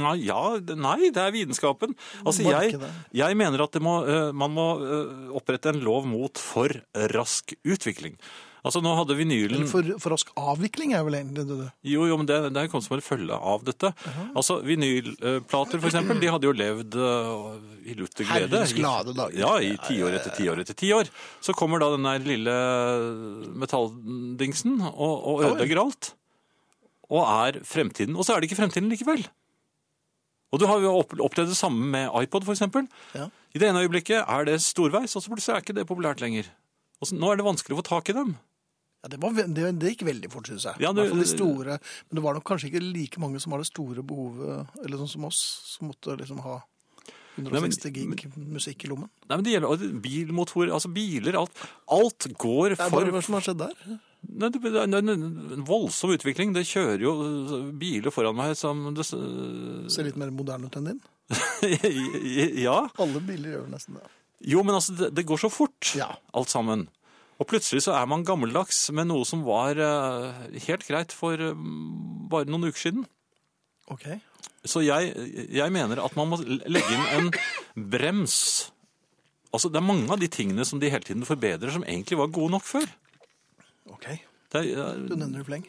C: Nei, ja, det- nei, det er vitenskapen. Altså, jeg,
B: Markedet.
C: jeg mener at det må, eh, man må eh, opprette en lov mot for rask utvikling. Altså, nå hadde vinylen...
B: Eller for, for rask avvikling er vel egentlig det du
C: Jo, jo, men det, det er jo kommet som en følge av dette. Altså, Vinylplater, for eksempel, de hadde jo levd eh, i lutter glede.
B: Herrens
C: I-
B: glade dager.
C: Ja, i tiår etter tiår etter tiår. Så kommer da den der lille metalldingsen og, og
B: Ja, vel.
C: ødelegger alt. Og er fremtiden. Og så er det ikke fremtiden likevel. Og du har jo opp- opplevd det samme med iPod, for eksempel.
B: Ja.
C: I det ene øyeblikket er det storveis, og så plutselig er ikke det populært lenger. Og så, nå er det vanskelig å få tak i dem.
B: Ja, det, var, ve- det, det gikk veldig fort, syns jeg.
C: Ja,
B: I
C: du-
B: hvert fall de store. Men det var nok kanskje ikke like mange som har det store behovet, eller sånn som oss, som måtte liksom ha
C: Nei, men-
B: 160 gig musikk i lommen.
C: Nei, men det gjelder og bilmotorer, altså biler, alt. Alt går
B: Det er
C: for
B: bare hva som har skjedd der.
C: Nei, det, det er en- en voldsom utvikling. Det kjører jo øh, biler foran meg som det, s- øh,
B: Ser litt mer moderne ut enn din.
C: Ja.
B: Alle biler gjør vel nesten det.
C: Jo, men altså, det, det går så fort,
B: Ja.
C: alt sammen. Og plutselig så er man gammeldags med noe som var øh, helt greit for øh, bare noen uker siden.
B: Ok.
C: Så jeg, jeg mener at man må legge inn en brems. Altså, det er mange av de tingene som de hele tiden forbedrer, som egentlig var gode nok før.
B: ok.
C: Det er,
B: Du nevner jo fleng.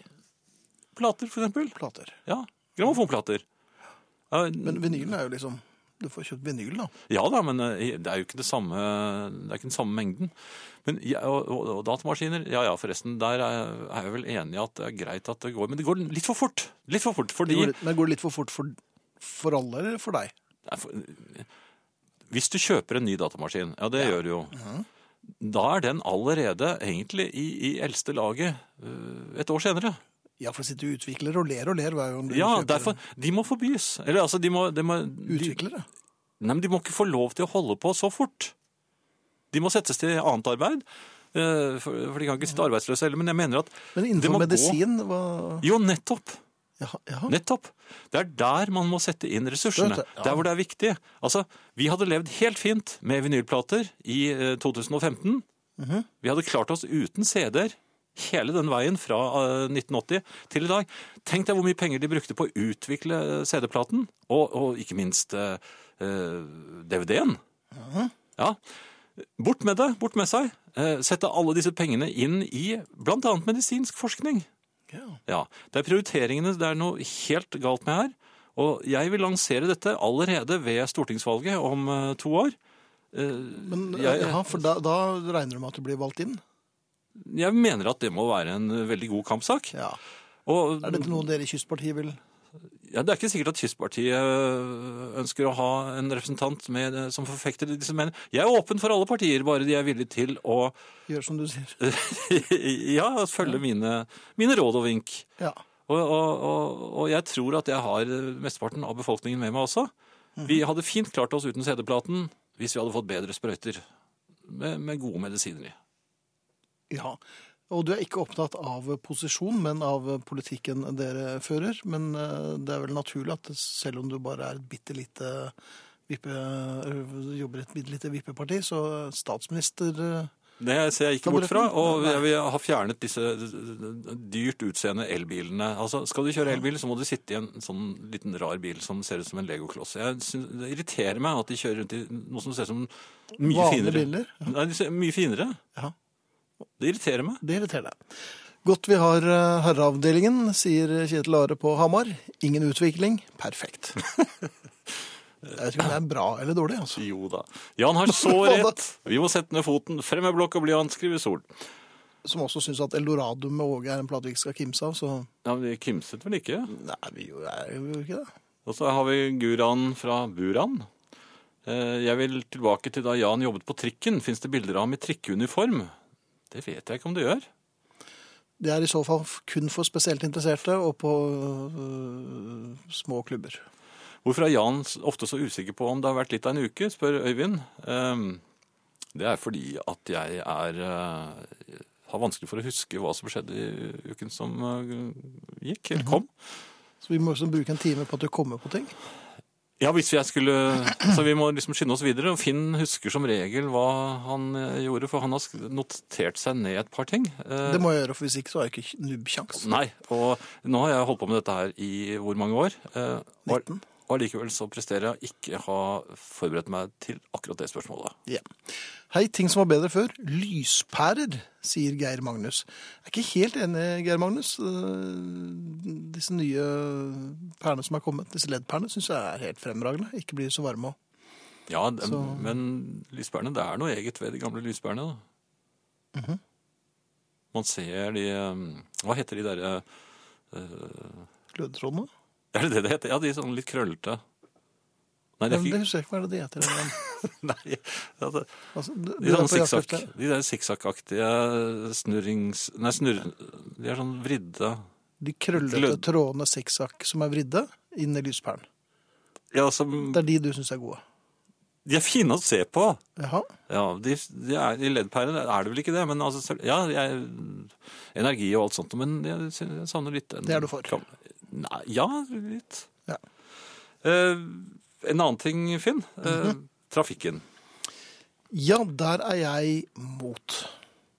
C: Plater, for eksempel.
B: Mm. Plater.
C: Ja, grammofonplater. Eh,
B: Men vinylen er jo liksom Du får kjøpt vinyl, da.
C: Ja da, men eh, det er jo ikke, det samme, det er ikke den samme mengden. Men, ja, og, og, og datamaskiner, ja ja, forresten, der er, er jeg vel enig i at det er greit at det går. Men det går litt for fort. Litt for fort,
B: Det
C: fordi
B: går litt, men går det litt for fort for, for alle, eller for deg?
C: Nei, for- Hvis du kjøper en ny datamaskin, ja det gjør du jo,
B: Mhm.
C: da er den allerede egentlig i, i eldste laget eh, et år senere.
B: Ja, for å sitte og utvikler og ler og ler hver gang du
C: Ja,
B: kjøper
C: derfor, de må forbys. Eller altså, de må, de må de,
B: utviklere.
C: Nei, men de må ikke få lov til å holde på så fort. De må settes til annet arbeid, eh, for for de kan ikke sitte arbeidsløse heller. Men jeg mener at
B: Men
C: det må
B: innenfor
C: gå-
B: medisin hva
C: Jo, nettopp.
B: Jaha, jaha.
C: Nettopp. Det er der man må sette inn ressursene.
B: Skjønt det, ja.
C: Der hvor det er viktig. Altså, vi hadde levd helt fint med vinylplater i eh, 2015. Vi hadde klart oss uten CD-er hele den veien fra eh, 1980 til i dag. Tenk deg hvor mye penger de brukte på å utvikle eh, CD-platen, og, og ikke minst eh, eh, DVD-en. Ja. Bort med det, bort med seg. Eh, Sette alle disse pengene inn i bl.a. medisinsk forskning.
B: Ja.
C: Ja, det er prioriteringene det er noe helt galt med her. Og jeg vil lansere dette allerede ved stortingsvalget om eh, to år.
B: Men,
C: Jeg-
B: ja, for da, da regner du med at du blir valgt inn?
C: Jeg mener at det må være en veldig god kampsak.
B: Ja.
C: Og
B: Er dette noe dere i Kystpartiet vil
C: Ja, Det er ikke sikkert at Kystpartiet ønsker å ha en representant med, eh, som forfekter disse mennene. Jeg er åpen for alle partier, bare de er villige til å
B: Gjør som du sier.
C: ja, følge mine, mine råd og vink.
B: Ja.
C: Og, og, og, og jeg tror at jeg har mesteparten av befolkningen med meg også.
B: Mhm.
C: Vi hadde fint klart oss uten CD-platen hvis vi hadde fått bedre sprøyter med, med gode medisiner i.
B: ja. Og du er ikke opptatt av posisjon, men av politikken dere fører. Men eh, det er vel naturlig at selv om du bare er et bitte lite vippe, eh, jobber i et bitte lite vippeparti, så statsminister eh,
C: Det ser jeg ikke bort fra. Og jeg vil ha fjernet disse dyrt utseende elbilene. Altså, skal du kjøre elbil, så må du sitte i en sånn liten rar bil som ser ut som en legokloss. Jeg synes, det irriterer meg at de kjører rundt i noe som ser ut som mye
B: Vanlige
C: finere.
B: biler,
C: Nei, de ser mye finere.
B: Ja.
C: Det irriterer meg.
B: Det irriterer deg. Godt vi har eh, herreavdelingen, sier Kjetil Are på Hamar. Ingen utvikling. Perfekt. Jeg vet ikke om det er bra eller dårlig, altså.
C: Jo da. Jan har så rett. Vi må sette ned foten. Frem med blokk og blyant, skriver Sol.
B: Som også syns at Eldorado med Åge er en plate vi ikke skal kimse av, så
C: Ja, men de kimset vel ikke?
B: Nei, vi jo- er jo ikke det.
C: Og så har vi Guran fra Buran. Eh, Jeg vil tilbake til da Jan jobbet på trikken. Fins det bilder av ham i trikkeuniform? Det vet jeg ikke om det gjør.
B: Det er i så fall f- kun for spesielt interesserte og på øh, små klubber.
C: Hvorfor er Jan s- ofte så usikker på om det har vært litt av en uke, spør Øyvind. Ehm, Det er fordi at jeg er eh, har vanskelig for å huske hva som skjedde i uken som eh, gikk, eller kom.
B: Så vi må liksom bruke en time på at du kommer på ting.
C: Ja, hvis jeg skulle Så vi må liksom skynde oss videre. Og Finn husker som regel hva han eh, gjorde, for han har sk- notert seg ned et par ting. Eh,
B: Det må jeg gjøre, for hvis ikke så har jeg ikke nubbkjangs.
C: Nei, og nå har jeg holdt på med dette her i hvor mange år? Eh, og-
B: 19.
C: Og allikevel så presterer jeg å ikke ha forberedt meg til akkurat det spørsmålet.
B: Ja. Hei, ting som var bedre før. Lyspærer, sier Geir Magnus. Jeg er ikke helt enig, Geir Magnus. Eh, Disse nye pærene som er kommet, disse leddpærene, syns jeg er helt fremragende. Ikke blir så varme òg.
C: Ja, det,
B: Så-
C: Men lyspærene, det er noe eget ved de gamle lyspærene. Da.
B: Mhm.
C: Man ser de eh, Hva heter de eh, derre
B: Glødetrådene.
C: Er det det det heter? Ja, de sånn litt krøllete. Nei, det
B: Men
C: er
B: det
C: ikke
B: husker jeg ikke hva er det de heter. men,
C: Nei, ja, det-
B: Altså, du, du
C: De
B: er
C: sånn
B: på jakt
C: sikksakk-
B: etter-
C: de der sikksakkaktige eh, snurrings... Nei, snurr... De er sånn vridde
B: de krøllete
C: Glød-
B: trådene sikksakk som er vridde inn i lyspæren.
C: Ja, som
B: Det er de du syns er gode.
C: De er fine å se på.
B: Jaha.
C: Ja, de, de er, I leddpæren er det vel ikke det, men altså, selv- ja, jeg, energi og alt sånt, men jeg, sy- jeg savner litt en,
B: Det er du for.
C: kam- Nei, ja, litt.
B: Ja.
C: Eh, en annen ting, Finn. Eh,
B: Mhm.
C: Trafikken.
B: Ja, der er jeg mot.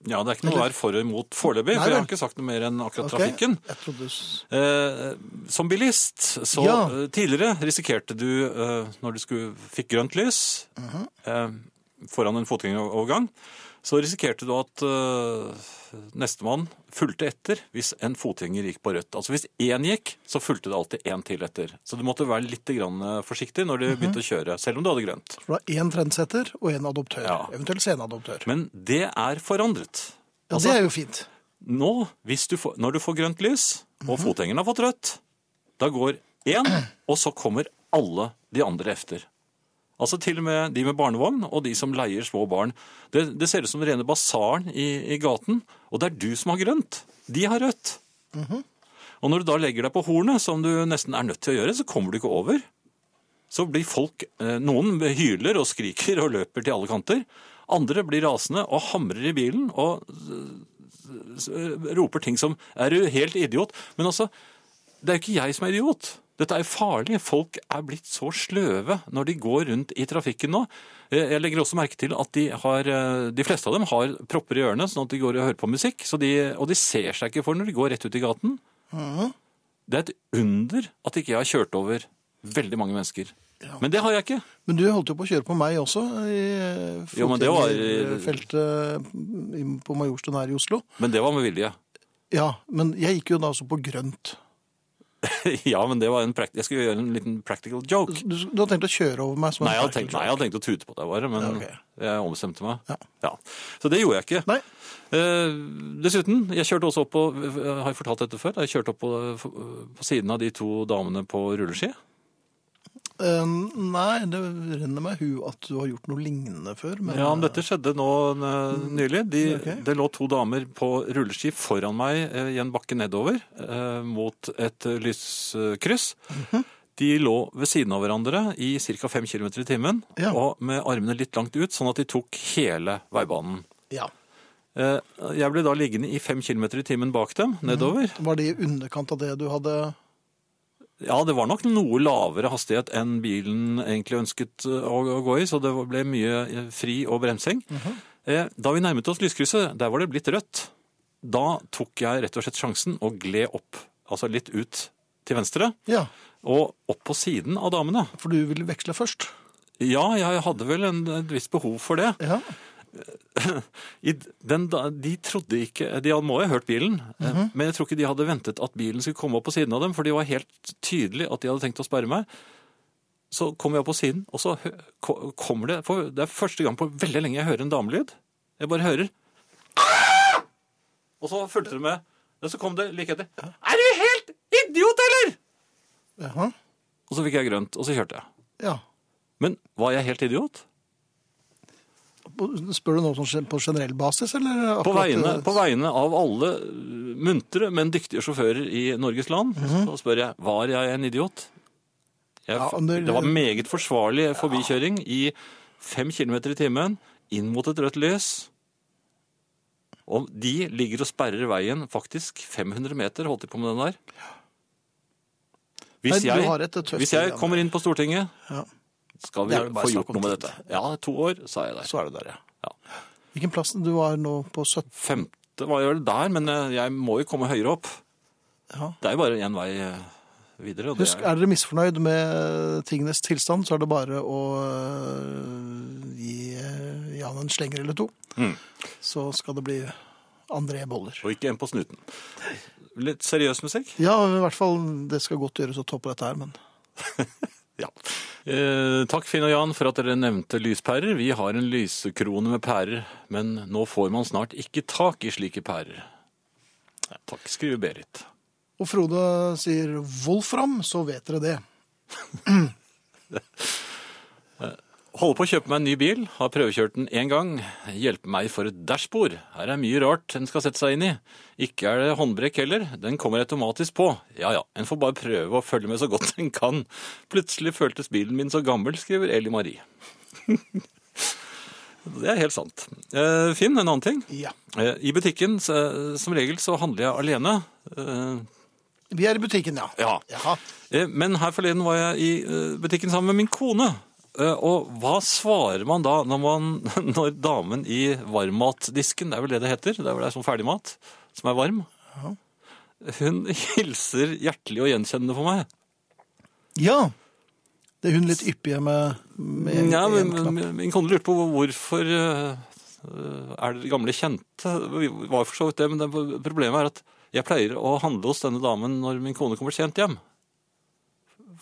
C: Ja, det er ikke noe å være for og imot foreløpig,
B: Nei
C: for jeg
B: vel.
C: har ikke sagt noe mer enn akkurat
B: Ok?
C: trafikken.
B: Jeg trodde du s-
C: Eh, som bilist, så
B: Ja.
C: eh, tidligere risikerte du, eh, når du skulle, fikk grønt lys
B: Mhm.
C: eh, foran en fotgjengerovergang, så risikerte du at eh, nestemann fulgte etter hvis en fotgjenger gikk på rødt. Altså hvis én gikk, så fulgte det alltid én til etter. Så du måtte være litt grann eh, forsiktig når du
B: Mhm.
C: begynte å kjøre, selv om du hadde grønt.
B: For det er én trendsetter og én adoptør.
C: Ja.
B: Eventuelt senadoptør.
C: Men altså- det er forandret.
B: Ja, det er jo fint.
C: Nå, hvis du får, når du får grønt lys, og fotgjengeren har fått rødt, da går én, og så kommer alle de andre efter. Altså til og med de med barnevogn og de som leier små barn. Det, det ser ut som den rene basaren i, i gaten, og det er du som har grønt. De har rødt. Og når du da legger deg på hornet, som du nesten er nødt til å gjøre, så kommer du ikke over. Så blir folk, eh, noen hyler og skriker og løper til alle kanter. Andre blir rasende og hamrer i bilen og eh, roper ting som Er du helt idiot? Men altså, det er jo ikke jeg som er idiot. Dette er farlig. Folk er blitt så sløve når de går rundt i trafikken nå. Eh, Jeg legger også merke til at de, har, eh, de fleste av dem har propper i ørene, sånn at de går og hører på musikk. Så de, og de ser seg ikke for når de går rett ut i gaten. Det er et under at ikke jeg har kjørt over veldig mange mennesker. Men det har jeg ikke.
B: Men du holdt jo på å kjøre på meg også, i eh,
C: Jo, men det var-
B: fotgjengerfeltet i- på Majorstuen her i Oslo.
C: Men det var med vilje.
B: Ja, men jeg gikk jo da også på grønt.
C: ja, men det var en prakt... Jeg skulle gjøre en liten practical joke.
B: Du, du har tenkt å kjøre over meg? Som en
C: Nei, jeg
B: practical
C: hadde tenkt, nei, jeg hadde tenkt å tute på deg bare, men
B: Ja, ok.
C: jeg ombestemte meg.
B: Ja.
C: Så det gjorde jeg ikke.
B: Nei.
C: Eh, dessuten, jeg kjørte også opp på, har jeg fortalt dette før, jeg kjørte opp på, eh, på siden av de to damene på rulleski.
B: Eh, nei, det renner meg hu at du har gjort noe lignende før. Men,
C: Ja, men dette skjedde nå eh, nylig. De,
B: ok.
C: Det lå to damer på rulleski foran meg eh, i en bakke nedover eh, mot et eh, lyskryss.
B: Mhm.
C: De lå ved siden av hverandre i ca. 5 km i timen,
B: Ja.
C: og med armene litt langt ut, sånn at de tok hele veibanen.
B: Ja.
C: Eh, Jeg ble da liggende i 5 km i timen bak dem, nedover.
B: Var det i underkant av det du hadde
C: Ja, det var nok noe lavere hastighet enn bilen egentlig ønsket eh, å å gå i, så det ble mye eh, fri og bremsing. Eh, Da vi nærmet oss lyskrysset, der var det blitt rødt. Da tok jeg rett og slett sjansen og gled opp, altså litt ut til venstre,
B: Ja,
C: og opp på siden av damene.
B: for du ville veksle først.
C: Ja, jeg hadde vel en, et visst behov for det.
B: Ja.
C: I d- den, da- de trodde ikke De hadde- må jo ha hørt bilen, eh, men jeg tror ikke de hadde ventet at bilen skulle komme opp på siden av dem, for de var helt tydelig at de hadde tenkt å sperre meg. Så kommer jeg opp på siden, og så hø- ko- kommer det for Det er første gang på veldig lenge jeg hører en damelyd. Jeg bare hører Og så fulgte det med. Og så kom det like etter. Er du helt idiot, eller?!
B: Jaha.
C: Og så fikk jeg grønt, og så kjørte jeg.
B: Ja.
C: Men var jeg helt idiot?
B: Spør du nå sånn gen- på generell basis, eller?
C: På
B: akkurat- eh,
C: vegne, på vegne av alle øh, muntre, men dyktige sjåfører i Norges land, så spør jeg, var jeg en idiot? Jeg,
B: Mhm. Ja, men det-
C: det var meget forsvarlig forbikjøring i fem kilometer i timen, inn mot et rødt lys. Og de ligger og sperrer veien faktisk 500 meter, holdt de på med den der. Hvis
B: Nei, du
C: jeg,
B: har et tøft
C: hvis jeg
B: program.
C: kommer inn på Stortinget,
B: Ja.
C: skal vi
B: Det er vel bare
C: få
B: snakk
C: gjort
B: om
C: noe med
B: tid.
C: dette. Ja, to år, sa jeg der.
B: Så er du der, ja.
C: Ja.
B: Hvilken plass du var nå på 17?
C: Femte var jeg vel der, men eh, jeg må jo komme høyere opp.
B: Ja.
C: Det er jo bare én vei eh, videre. Og det
B: Husk,
C: er,
B: er dere misfornøyd med eh, tingenes tilstand, så er det bare å øh, gi øh, Jan en slenger eller to. Så skal det bli André Boller.
C: og ikke en på snuten. Litt seriøs musikk?
B: Ja, i hvert fall det skal godt gjøres å toppe dette her, men
C: Ja. Eh, takk, Finn og Jan, for at dere nevnte lyspærer. Vi har en lysekrone med pærer, men nå får man snart ikke tak i slike pærer. Takk, skriver Berit.
B: Og Frode sier Wolfram, så vet dere det.
C: Holder på å kjøpe meg en ny bil, har prøvekjørt den én gang. Hjelpe meg for et dashbord. Her er mye rart en skal sette seg inn i. Ikke er det håndbrekk heller, den kommer automatisk på. Ja ja, en får bare prøve å følge med så godt en kan. Plutselig føltes bilen min så gammel, skriver Eli Marie. det er helt sant. Eh, Finn, en annen ting.
B: Ja.
C: Eh, I butikken så- som regel så handler jeg alene. Eh,
B: Vi er i butikken, ja.
C: Ja.
B: Jaha.
C: Eh, Men her forleden var jeg i eh, butikken sammen med min kone. Eh, Og hva svarer man da når, man, når damen i varmmatdisken, det er vel det det heter, det er vel det er sånn ferdigmat som er varm, hun hilser hjertelig og gjenkjennende på meg.
B: ja. Det er hun litt yppige med, med en,
C: Ja,
B: en
C: men,
B: knapp.
C: men min kone lurte på hvorfor eh, eh, er dere gamle kjente? Vi var for så vidt det, men det, problemet er at jeg pleier å handle hos denne damen når min kone kommer sent hjem.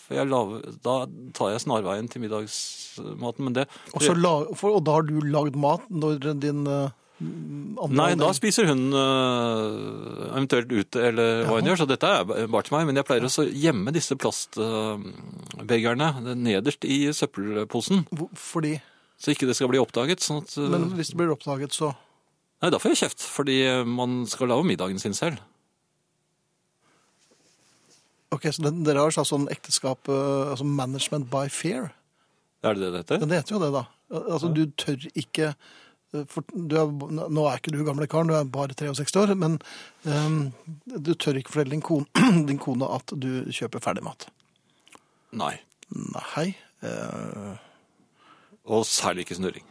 C: For jeg laver, da tar jeg snarveien til middagsmaten, men det
B: Og, så la, for, og da har du lagd mat når din eh, andre
C: Nei, da
B: halvdel-
C: spiser hun øh, eventuelt ute, eller hva hun gjør, så dette er b- bare til meg. Men jeg pleier også å gjemme disse plastbegerne nederst i søppelposen,
B: Hvor- Fordi
C: så ikke det skal bli oppdaget. Sånn at, øh,
B: Men hvis det blir oppdaget, så
C: Nei, da får jeg kjeft, fordi eh, man skal lage middagen sin selv.
B: Ok, så den, dere har sagt sånn ekteskap eh, Altså management by fear.
C: Er det det det heter?
B: Men det heter jo det, da. Al- Altså, du tør ikke eh, for, du er, Nå er ikke du gamle karen, du er bare 63 år, men ehm, du tør ikke fortelle din kone, din kone at du kjøper ferdigmat.
C: Nei.
B: Nei. eh,
C: Og særlig ikke snurring.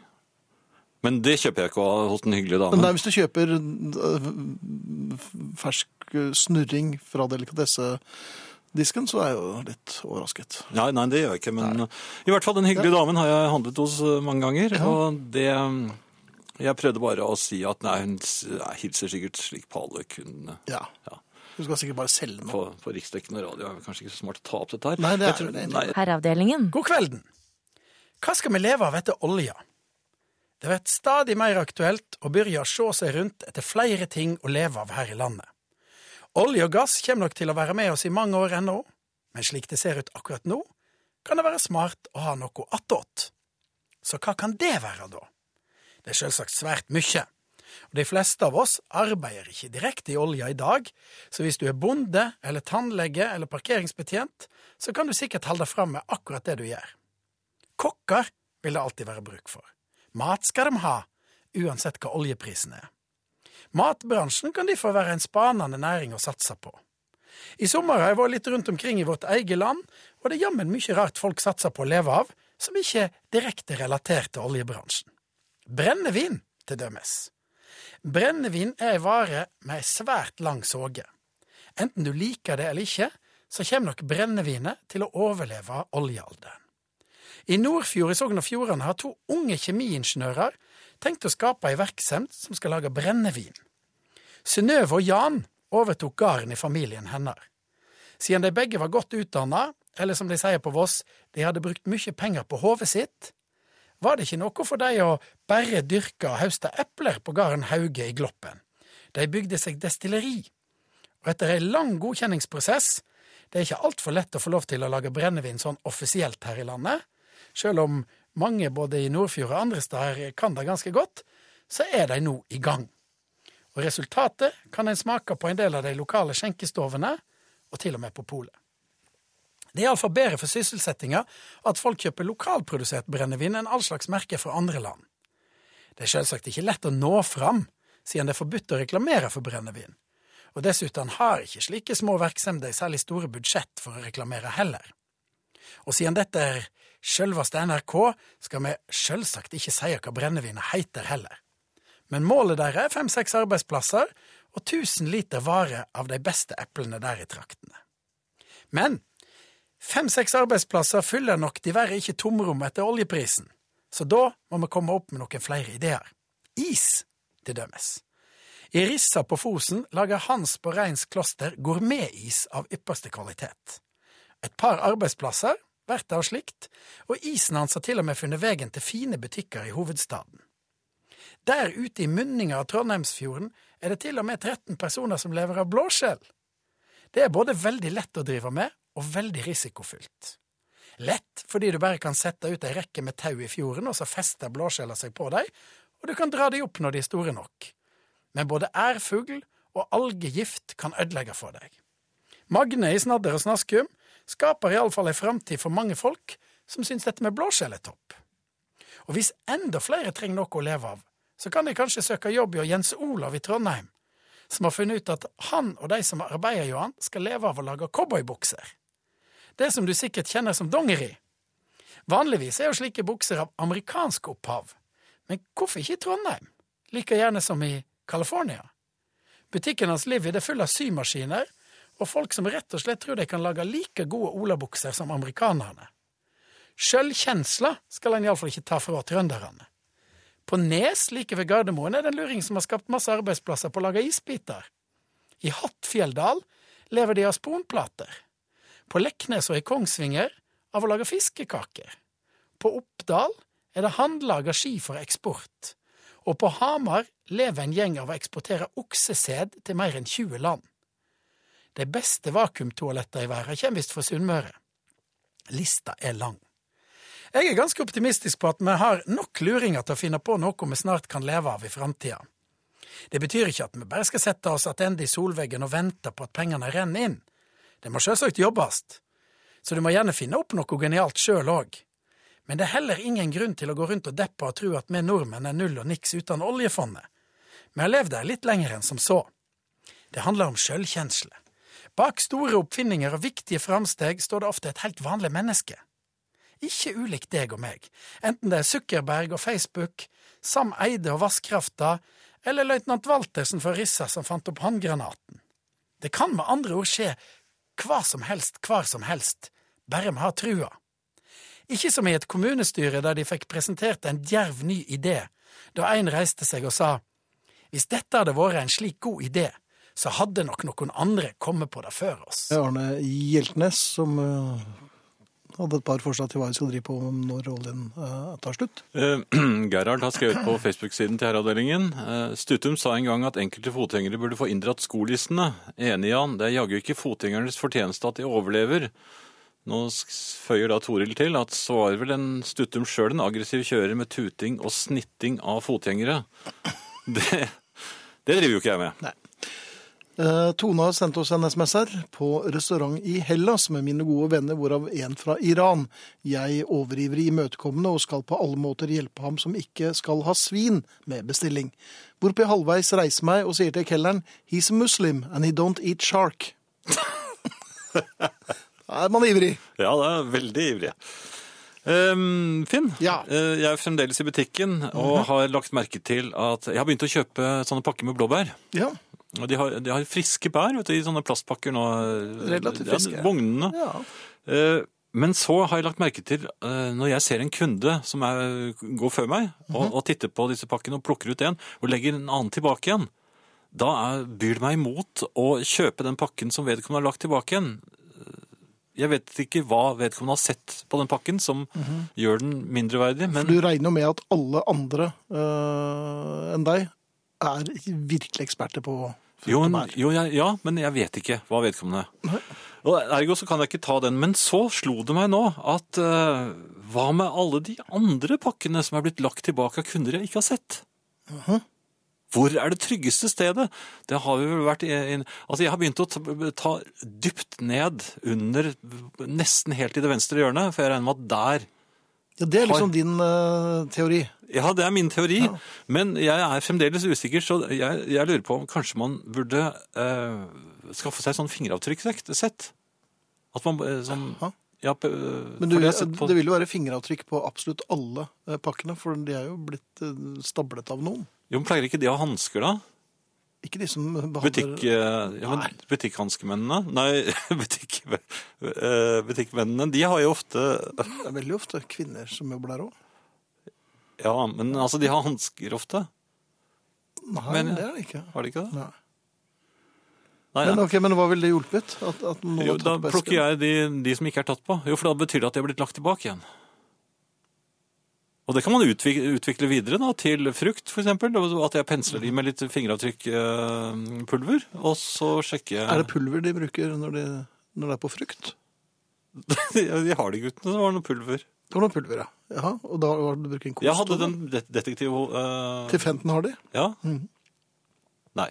C: Men det kjøper jeg ikke av- hos den hyggelige
B: men
C: damen.
B: nei, hvis du kjøper eh, f- fersk eh, snurring fra delikatessedisken, så er jeg jo litt overrasket.
C: Nei, nei, det gjør jeg ikke, men i hvert fall den hyggelige damen har jeg handlet hos eh, mange ganger, og det mm, Jeg prøvde bare å si at nei, hun s- nei, hilser sikkert slik på alle kundene.
B: Ja.
C: Ja.
B: Du skal sikkert bare selge den.
C: eh, På, på riksdekkende radio er det kanskje ikke så smart å ta opp dette her.
B: Nei, det er
C: Jeg tror-
B: vel det.
C: Nei,
D: Herreavdelingen.
E: God kvelden. Hva skal vi leve av etter olja? Det blir stadig mer aktuelt å begynne å se seg rundt etter flere ting å leve av her i landet. Olje og gass kommer nok til å være med oss i mange år ennå, men slik det ser ut akkurat nå, kan det være smart å ha noe attåt. Så hva kan det være, da? Det er selvsagt svært mye, og de fleste av oss arbeider ikke direkte i olja i dag, så hvis du er bonde eller tannlege eller parkeringsbetjent, så kan du sikkert holde fram med akkurat det du gjør. Kokker vil det alltid være bruk for. Mat skal de ha, uansett hva oljeprisen er. Matbransjen kan derfor være en spanende næring å satse på. I sommer har jeg vært litt rundt omkring i vårt eget land, og det er jammen mye rart folk satser på å leve av, som ikke er direkte relatert til oljebransjen. Brennevin, til dømes. Brennevin er ei vare med ei svært lang såge. Enten du liker det eller ikke, så kommer nok brennevinet til å overleve oljealderen. I Nordfjord i Sogn og Fjordane har to unge kjemiingeniører tenkt å skape ei virksomhet som skal lage brennevin. Synnøve og Jan overtok gården i familien hennes. Siden de begge var godt utdanna, eller som de sier på Voss, de hadde brukt mye penger på hodet sitt, var det ikke noe for dem å bare dyrke og høste epler på gården Hauge i Gloppen. De bygde seg destilleri og etter en lang godkjenningsprosess Det er ikke altfor lett å få lov til å lage brennevin sånn offisielt her i landet. Selv om mange både i Nordfjord og andre steder kan det ganske godt, så er de nå i gang. Og resultatet kan en smake på en del av de lokale skjenkestovene, og til og med på polet. Det er iallfall bedre for sysselsettinga at folk kjøper lokalprodusert brennevin enn all slags merker fra andre land. Det er selvsagt ikke lett å nå fram, siden det er forbudt å reklamere for brennevin og dessuten har ikke slike små virksomheter særlig store budsjett for å reklamere heller. Og siden dette er sjølveste NRK, skal vi sjølsagt ikke si hva brennevinet heter heller. Men målet deres er fem–seks arbeidsplasser og 1000 liter vare av de beste eplene der i traktene. Men fem–seks arbeidsplasser fyller nok diverre ikke tomrommet etter oljeprisen, så da må vi komme opp med noen flere ideer. Is, til dømes. I Rissa på Fosen lager Hans på Reins kloster gourmetis av ypperste kvalitet. Et par arbeidsplasser blir det av slikt, og isen hans har til og med funnet veien til fine butikker i hovedstaden. Der ute i munninga av Trondheimsfjorden er det til og med 13 personer som lever av blåskjell. Det er både veldig lett å drive med, og veldig risikofylt. Lett fordi du bare kan sette ut ei rekke med tau i fjorden, og så fester blåskjella seg på dem, og du kan dra dem opp når de er store nok men både ærfugl og algegift kan ødelegge for deg. Magne i Snadder og Snaskum skaper iallfall ei framtid for mange folk som syns dette med blåskjell er topp. Og hvis enda flere trenger noe å leve av, så kan de kanskje søke jobb hos Jens Olav i Trondheim, som har funnet ut at han og de som arbeider hos han, skal leve av å lage cowboybukser. Det som du sikkert kjenner som dongeri. Vanligvis er jo slike bukser av amerikansk opphav, men hvorfor ikke i Trondheim? Like gjerne som i California. Butikken hans Livid er full av symaskiner og folk som rett og slett tror de kan lage like gode olabukser som amerikanerne. Sjølkjensla skal han iallfall ikke ta fra trønderne. På Nes, like ved Gardermoen, er det en luring som har skapt masse arbeidsplasser på å lage isbiter. I Hattfjelldal lever de av sponplater. På Leknes og i Kongsvinger av å lage fiskekaker. På Oppdal er det håndlaga ski for eksport og på Hamar lever en gjeng av å eksportere oksesæd til mer enn 20 land. De beste vakuumtoalettene i verden kommer visst fra Sunnmøre. Lista er lang. Jeg er ganske optimistisk på at vi har nok luringer til å finne på noe vi snart kan leve av i framtida. Det betyr ikke at vi bare skal sette oss tilbake i solveggen og vente på at pengene renner inn. Det må sjølsagt jobbes, så du må gjerne finne opp noe genialt sjøl òg. Men det er heller ingen grunn til å gå rundt og deppe og tro at vi nordmenn er null og niks uten oljefondet. Vi har levd der litt lenger enn som så. Det handler om sjølkjensle. Bak store oppfinninger og viktige framsteg står det ofte et helt vanlig menneske. Ikke ulikt deg og meg, enten det er Zuckerberg og Facebook, Sam Eide og Vasskrafta, eller løytnant Waltersen fra Rissa som fant opp håndgranaten. Det kan med andre ord skje hva som helst hvar som helst, bare vi har trua. Ikke som i et kommunestyre der de fikk presentert en djerv ny idé, da en reiste seg og sa Hvis dette hadde vært en slik god idé, så hadde nok noen andre kommet på det før oss.
B: Det er Arne Hjeltnes som eh, hadde et par forslag til hva vi skal drive på med når oljen eh, tar slutt.
C: Eh, Gerhard har skrevet på Facebook-siden til herreavdelingen. Eh, Stutum sa en gang at enkelte fotgjengere burde få inndratt skolissene. Enig, Jan. Det er jaggu ikke fotgjengernes fortjeneste at de overlever. Nå s- føyer da Toril til at så var vel en Stutum sjøl en aggressiv kjører med tuting og snitting av fotgjengere. Det, det driver jo ikke jeg med.
B: Eh, Tone har sendt oss en SMS her på restaurant i Hellas med mine gode venner, hvorav en fra Iran. Jeg overivrig imøtekommende og skal på alle måter hjelpe ham som ikke skal ha svin med bestilling. Hvorpå jeg halvveis reiser meg og sier til kelneren he's a muslim and he don't eat shark. da er man ivrig.
C: Ja, det er veldig ivrige. Ehm, Finn,
B: Ja.
C: eh, jeg er fremdeles i butikken og har lagt merke til at jeg har begynt å kjøpe sånne pakker med blåbær.
B: Ja.
C: Og de har, de har friske bær vet du, i sånne plastpakker nå.
B: Relativt friske.
C: Ja, vognene.
B: ja.
C: Eh, Men så har jeg lagt merke til, eh, når jeg ser en kunde som er, går før meg,
B: Mhm.
C: og, og titter på disse pakkene og plukker ut en, og legger en annen tilbake igjen, da er, byr det meg imot å kjøpe den pakken som vedkommende har lagt tilbake igjen. Jeg vet ikke hva vedkommende har sett på den pakken som
B: Mhm.
C: gjør den mindreverdig, men
B: Du regner jo med at alle andre eh, enn deg er virkelig eksperter på frukt
C: Jo,
B: og
C: men-
B: bær.
C: jo jeg, ja, men jeg vet ikke hva vedkommende Og Ergo så kan jeg ikke ta den. Men så slo det meg nå at eh, hva med alle de andre pakkene som er blitt lagt tilbake av kunder jeg ikke har sett? Hvor er det tryggeste stedet? Det har vi vel vært i, i, Altså, jeg har begynt å ta, ta dypt ned under Nesten helt i det venstre hjørnet, for jeg regner med at der
B: Ja, det er liksom din eh, teori.
C: ja, det er min teori, men jeg er fremdeles usikker, så jeg, jeg lurer på om kanskje man burde eh, skaffe seg sånn fingeravtrykkssett. At man eh, sånn
B: Jaha.
C: ja, p-
B: Men du,
C: fordi jeg har
B: det,
C: sett på,
B: vil jo være fingeravtrykk på absolutt alle eh, pakkene, for de er jo blitt eh, stablet av noen.
C: jo, men Pleier ikke de å ha hansker, da?
B: Ikke de som behandler
C: Butikk, eh,
B: Nei.
C: ja, men butikkhanskemennene? Nei, butikk, eh, butikkmennene. De har jo ofte
B: Det er veldig ofte kvinner som jobber der òg.
C: Ja, men altså, de har hansker ofte.
B: Nei,
C: Men-
B: det er det ikke.
C: Har de ikke det?
B: Nei.
C: Nei,
B: Men,
C: ja.
B: ok, men hva ville det hjulpet? At, at noen
C: Jo,
B: har
C: da
B: tatt på
C: plukker
B: esken?
C: jeg de, de som ikke er tatt på. Jo, for da betyr det at de er blitt lagt tilbake igjen. Og det kan man utvikle, utvikle videre da, til frukt, for eksempel. og At jeg pensler de med litt fingeravtrykkpulver, og så sjekker jeg
B: Er det pulver de bruker når, de, når det er på frukt?
C: de, de har de guttene som har noe pulver.
B: Det var noe pulver, ja. Jaha, og da var det du bruker en kost?
C: Jeg hadde den det- detektiv... eh,
B: Til Mm. 15 har de?
C: Ja? Nei.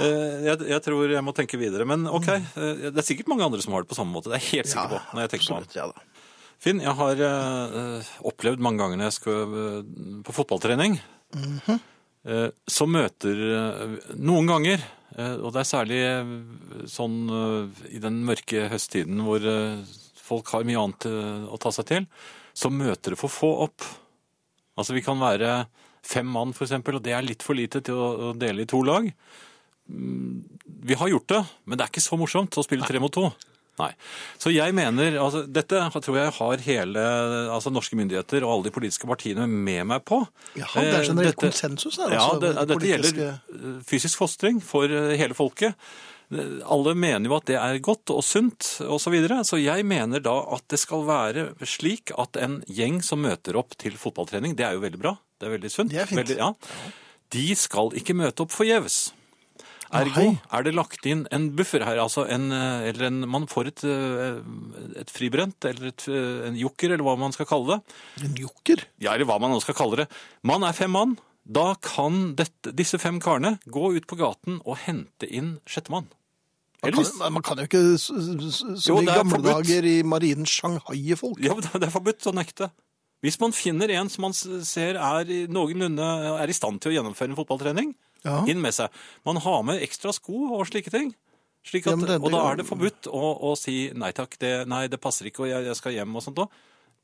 C: Eh, jeg, jeg tror jeg må tenke videre. Men ok,
B: Mm.
C: eh, det er sikkert mange andre som har det på samme måte. Det er jeg helt sikker på. når jeg tenker meg om.
B: absolutt, ja da.
C: Finn, jeg har eh, eh, opplevd mange ganger når jeg skal eh, på fotballtrening, eh, så møter eh, noen ganger, eh, og det er særlig eh, sånn eh, i den mørke høsttiden hvor eh, folk har mye annet eh, å ta seg til, så møter det for få opp. Altså vi kan være fem mann for eksempel, og det er litt for lite til å, å dele i to lag. Mm, Vi har gjort det, men det er ikke så morsomt å spille tre mot to. Nei. Så jeg mener, altså, dette tror jeg har hele altså, norske myndigheter og alle de politiske partiene med meg på.
B: Jaha, det er generell
C: Eh, dette-
B: konsensus her,
C: Ja,
B: altså.
C: det,
B: over
C: dette gjelder
B: politiske-
C: eh, fysisk fostring for eh, hele folket. Eh, Alle mener jo at det er godt og sunt osv., så, videre. så jeg mener da at det skal være slik at en gjeng som møter opp til fotballtrening, det er jo veldig bra, det er veldig sunt.
B: Det er fint.
C: Veldig, ja. De skal ikke møte opp forgjeves. Ergo
B: Nei.
C: er det lagt inn en buffer her, altså en, eh, eller en, man får et, eh, et fribrent, eller et, eh, en jokker, eller hva man skal kalle det.
B: En jokker?
C: Ja, eller hva man nå skal kalle det. Man er fem mann, da kan dette, disse fem karene gå ut på gaten og hente inn sjettemann.
B: Man
C: Eller
B: kan,
C: hvis-
B: men man kan jo ikke s- s- s- som
C: Jo,
B: i
C: det er
B: gamle
C: forbudt.
B: dager i marinen sjanghaie folk.
C: Ja, men det er forbudt å nekte. Hvis man finner en som man s- ser er i, noenlunde er i stand til å gjennomføre en fotballtrening,
B: Ja.
C: inn med seg. Man har med ekstra sko og slike ting. Slik
B: Ja,
C: at,
B: men det-
C: og da
B: det-
C: er det forbudt å, å si nei takk, det, nei, det passer ikke, og jeg, jeg skal hjem og sånt òg.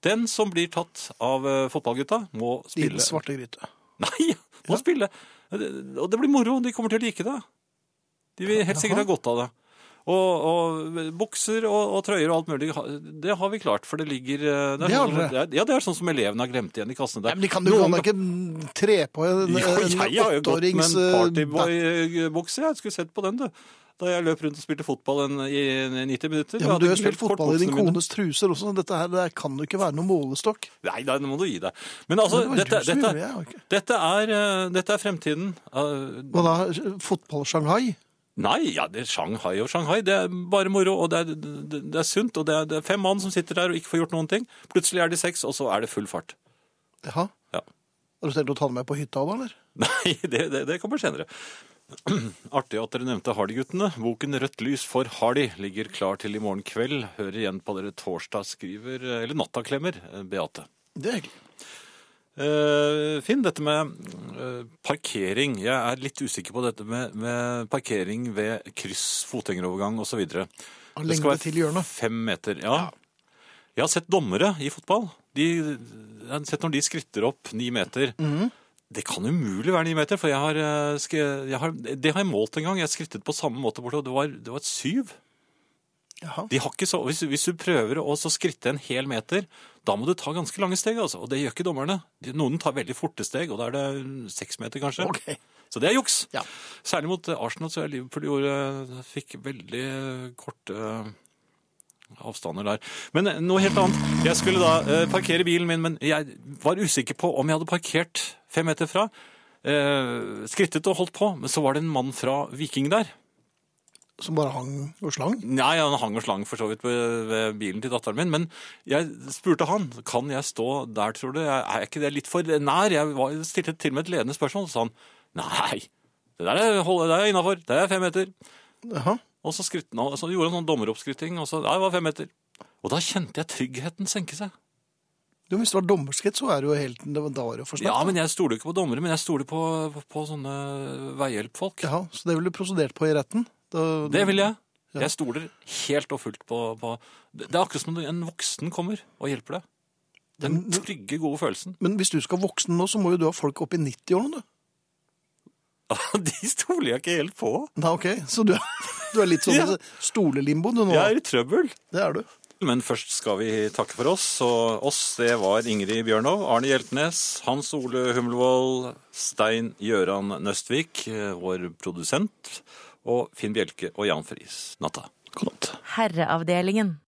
C: Den som blir tatt av eh, fotballgutta, må
B: I
C: spille.
B: den svarte gryte.
C: Nei, må spille. Og det blir moro, de kommer til å like det. De vil helt sikkert ha godt av det. Og, og bukser og, og trøyer og alt mulig, ha- det har vi klart, for det ligger eh,
B: Det har dere.
C: sånn, som- det er, Ja, det er sånn som elevene har glemt igjen i kassene der.
B: Nei, men de kan jo kan da
C: Noen-
B: ikke tre på en,
C: Jo,
B: en
C: jeg har jo gått med
B: åtteårings
C: en
B: eh, back-
C: partyboy-bukse. Jeg skulle sett på den, du. Da jeg løp rundt og spilte fotball en, i 90 minutter.
B: Ja, men Du har spilt fotball i din
C: kone
B: kones truser også. Dette her det kan jo ikke være noen målestokk.
C: Nei, nei, nå må du gi deg. Men altså,
B: Men det var
C: dette,
B: du som gjorde det,
C: dette,
B: jeg har ikke.
C: dette, er, eh, dette er fremtiden. Eh,
B: Hva da? Fotball-Shanghai?
C: Nei, ja, det er Shanghai og Shanghai. Det er bare moro, og det er, det, det er sunt. Og det er, det er fem mann som sitter der og ikke får gjort noen ting. Plutselig er de seks, og så er det full fart.
B: Jaha.
C: Ja.
B: Har du tenkt å ta det med på hytta da, eller?
C: Nei, det, det, det kommer senere. Artig at dere nevnte Hardy-guttene. Boken 'Rødt lys for Hardy' ligger klar til i morgen kveld. Hører igjen på dere torsdag, skriver Eller nattaklemmer, Beate.
B: Det er hyggelig.
C: Eh, Finn, dette med eh, parkering. Jeg er litt usikker på dette med, med parkering ved kryss, fotgjengerovergang osv.
B: Og lengde til hjørnet.
C: Fem meter, ja. Jeg har sett dommere i fotball. De, jeg har sett når de skritter opp ni meter. Det kan umulig være ni meter, for jeg har, eh, sk- jeg har, det har jeg målt en gang. Jeg skrittet på samme måte borte, og det var, det var et syv.
B: Jaha.
C: De har ikke så, hvis, hvis du prøver å så skritte en hel meter, da må du ta ganske lange steg. Altså. Og det gjør ikke dommerne. De- Noen tar veldig forte steg, og da er det seks meter kanskje.
B: Ok.
C: Så det er juks.
B: Ja.
C: Særlig mot eh, Arsenal så er Liverpool gjorde, fikk veldig eh, korte eh, avstander der. Men eh, noe helt annet. Jeg skulle da eh, parkere bilen min, men jeg var usikker på om jeg hadde parkert fem meter fra. Eh, skrittet og holdt på, men så var det en mann fra Viking der.
B: Som bare hang og slang?
C: Nei, han hang og slang for så vidt ved, ved bilen til datteren min, men jeg spurte han, kan jeg stå der, tror du? Jeg- Er ikke det litt for nær? Jeg var, stilte til og med et ledende spørsmål, og sa han, nei, det der er, hold- det er innenfor, det er fem meter.
B: Jaha.
C: Og så, skrytte han, så gjorde han sånn dommeroppskrytting, og så, nei, det var fem meter. Og da kjente jeg tryggheten senke seg.
B: Jo, men Hvis det var dommerskritt, så er det jo helt det var- Da var det jo for
C: Ja,
B: smått.
C: men jeg stoler ikke på dommere, men jeg stoler på, på, på sånne veihjelpfolk.
B: Ja, så det ville du prosedert på i retten? Da-
C: Det vil jeg. Jeg stoler helt og fullt på, på Det det er akkurat som når en voksen kommer og hjelper deg. Den trygge, gode følelsen.
B: Men hvis du skal voksen nå, så må jo du ha folk opp i 90-årene, du.
C: De stoler jeg ikke helt på.
B: Nei, ok. Så du er, du er litt sånn
C: Ja.
B: stolelimbo du nå.
C: Jeg er i trøbbel.
B: Det er du.
C: Men først skal vi takke for oss. Og oss, det var Ingrid Bjørnov, Arne Hjeltnes, Hans Ole Humlevold, Stein Gjøran Nøstvik, eh, vår produsent, og Finn Bjelke og Jan Friis. Natta.
B: God natt.
D: Herreavdelingen.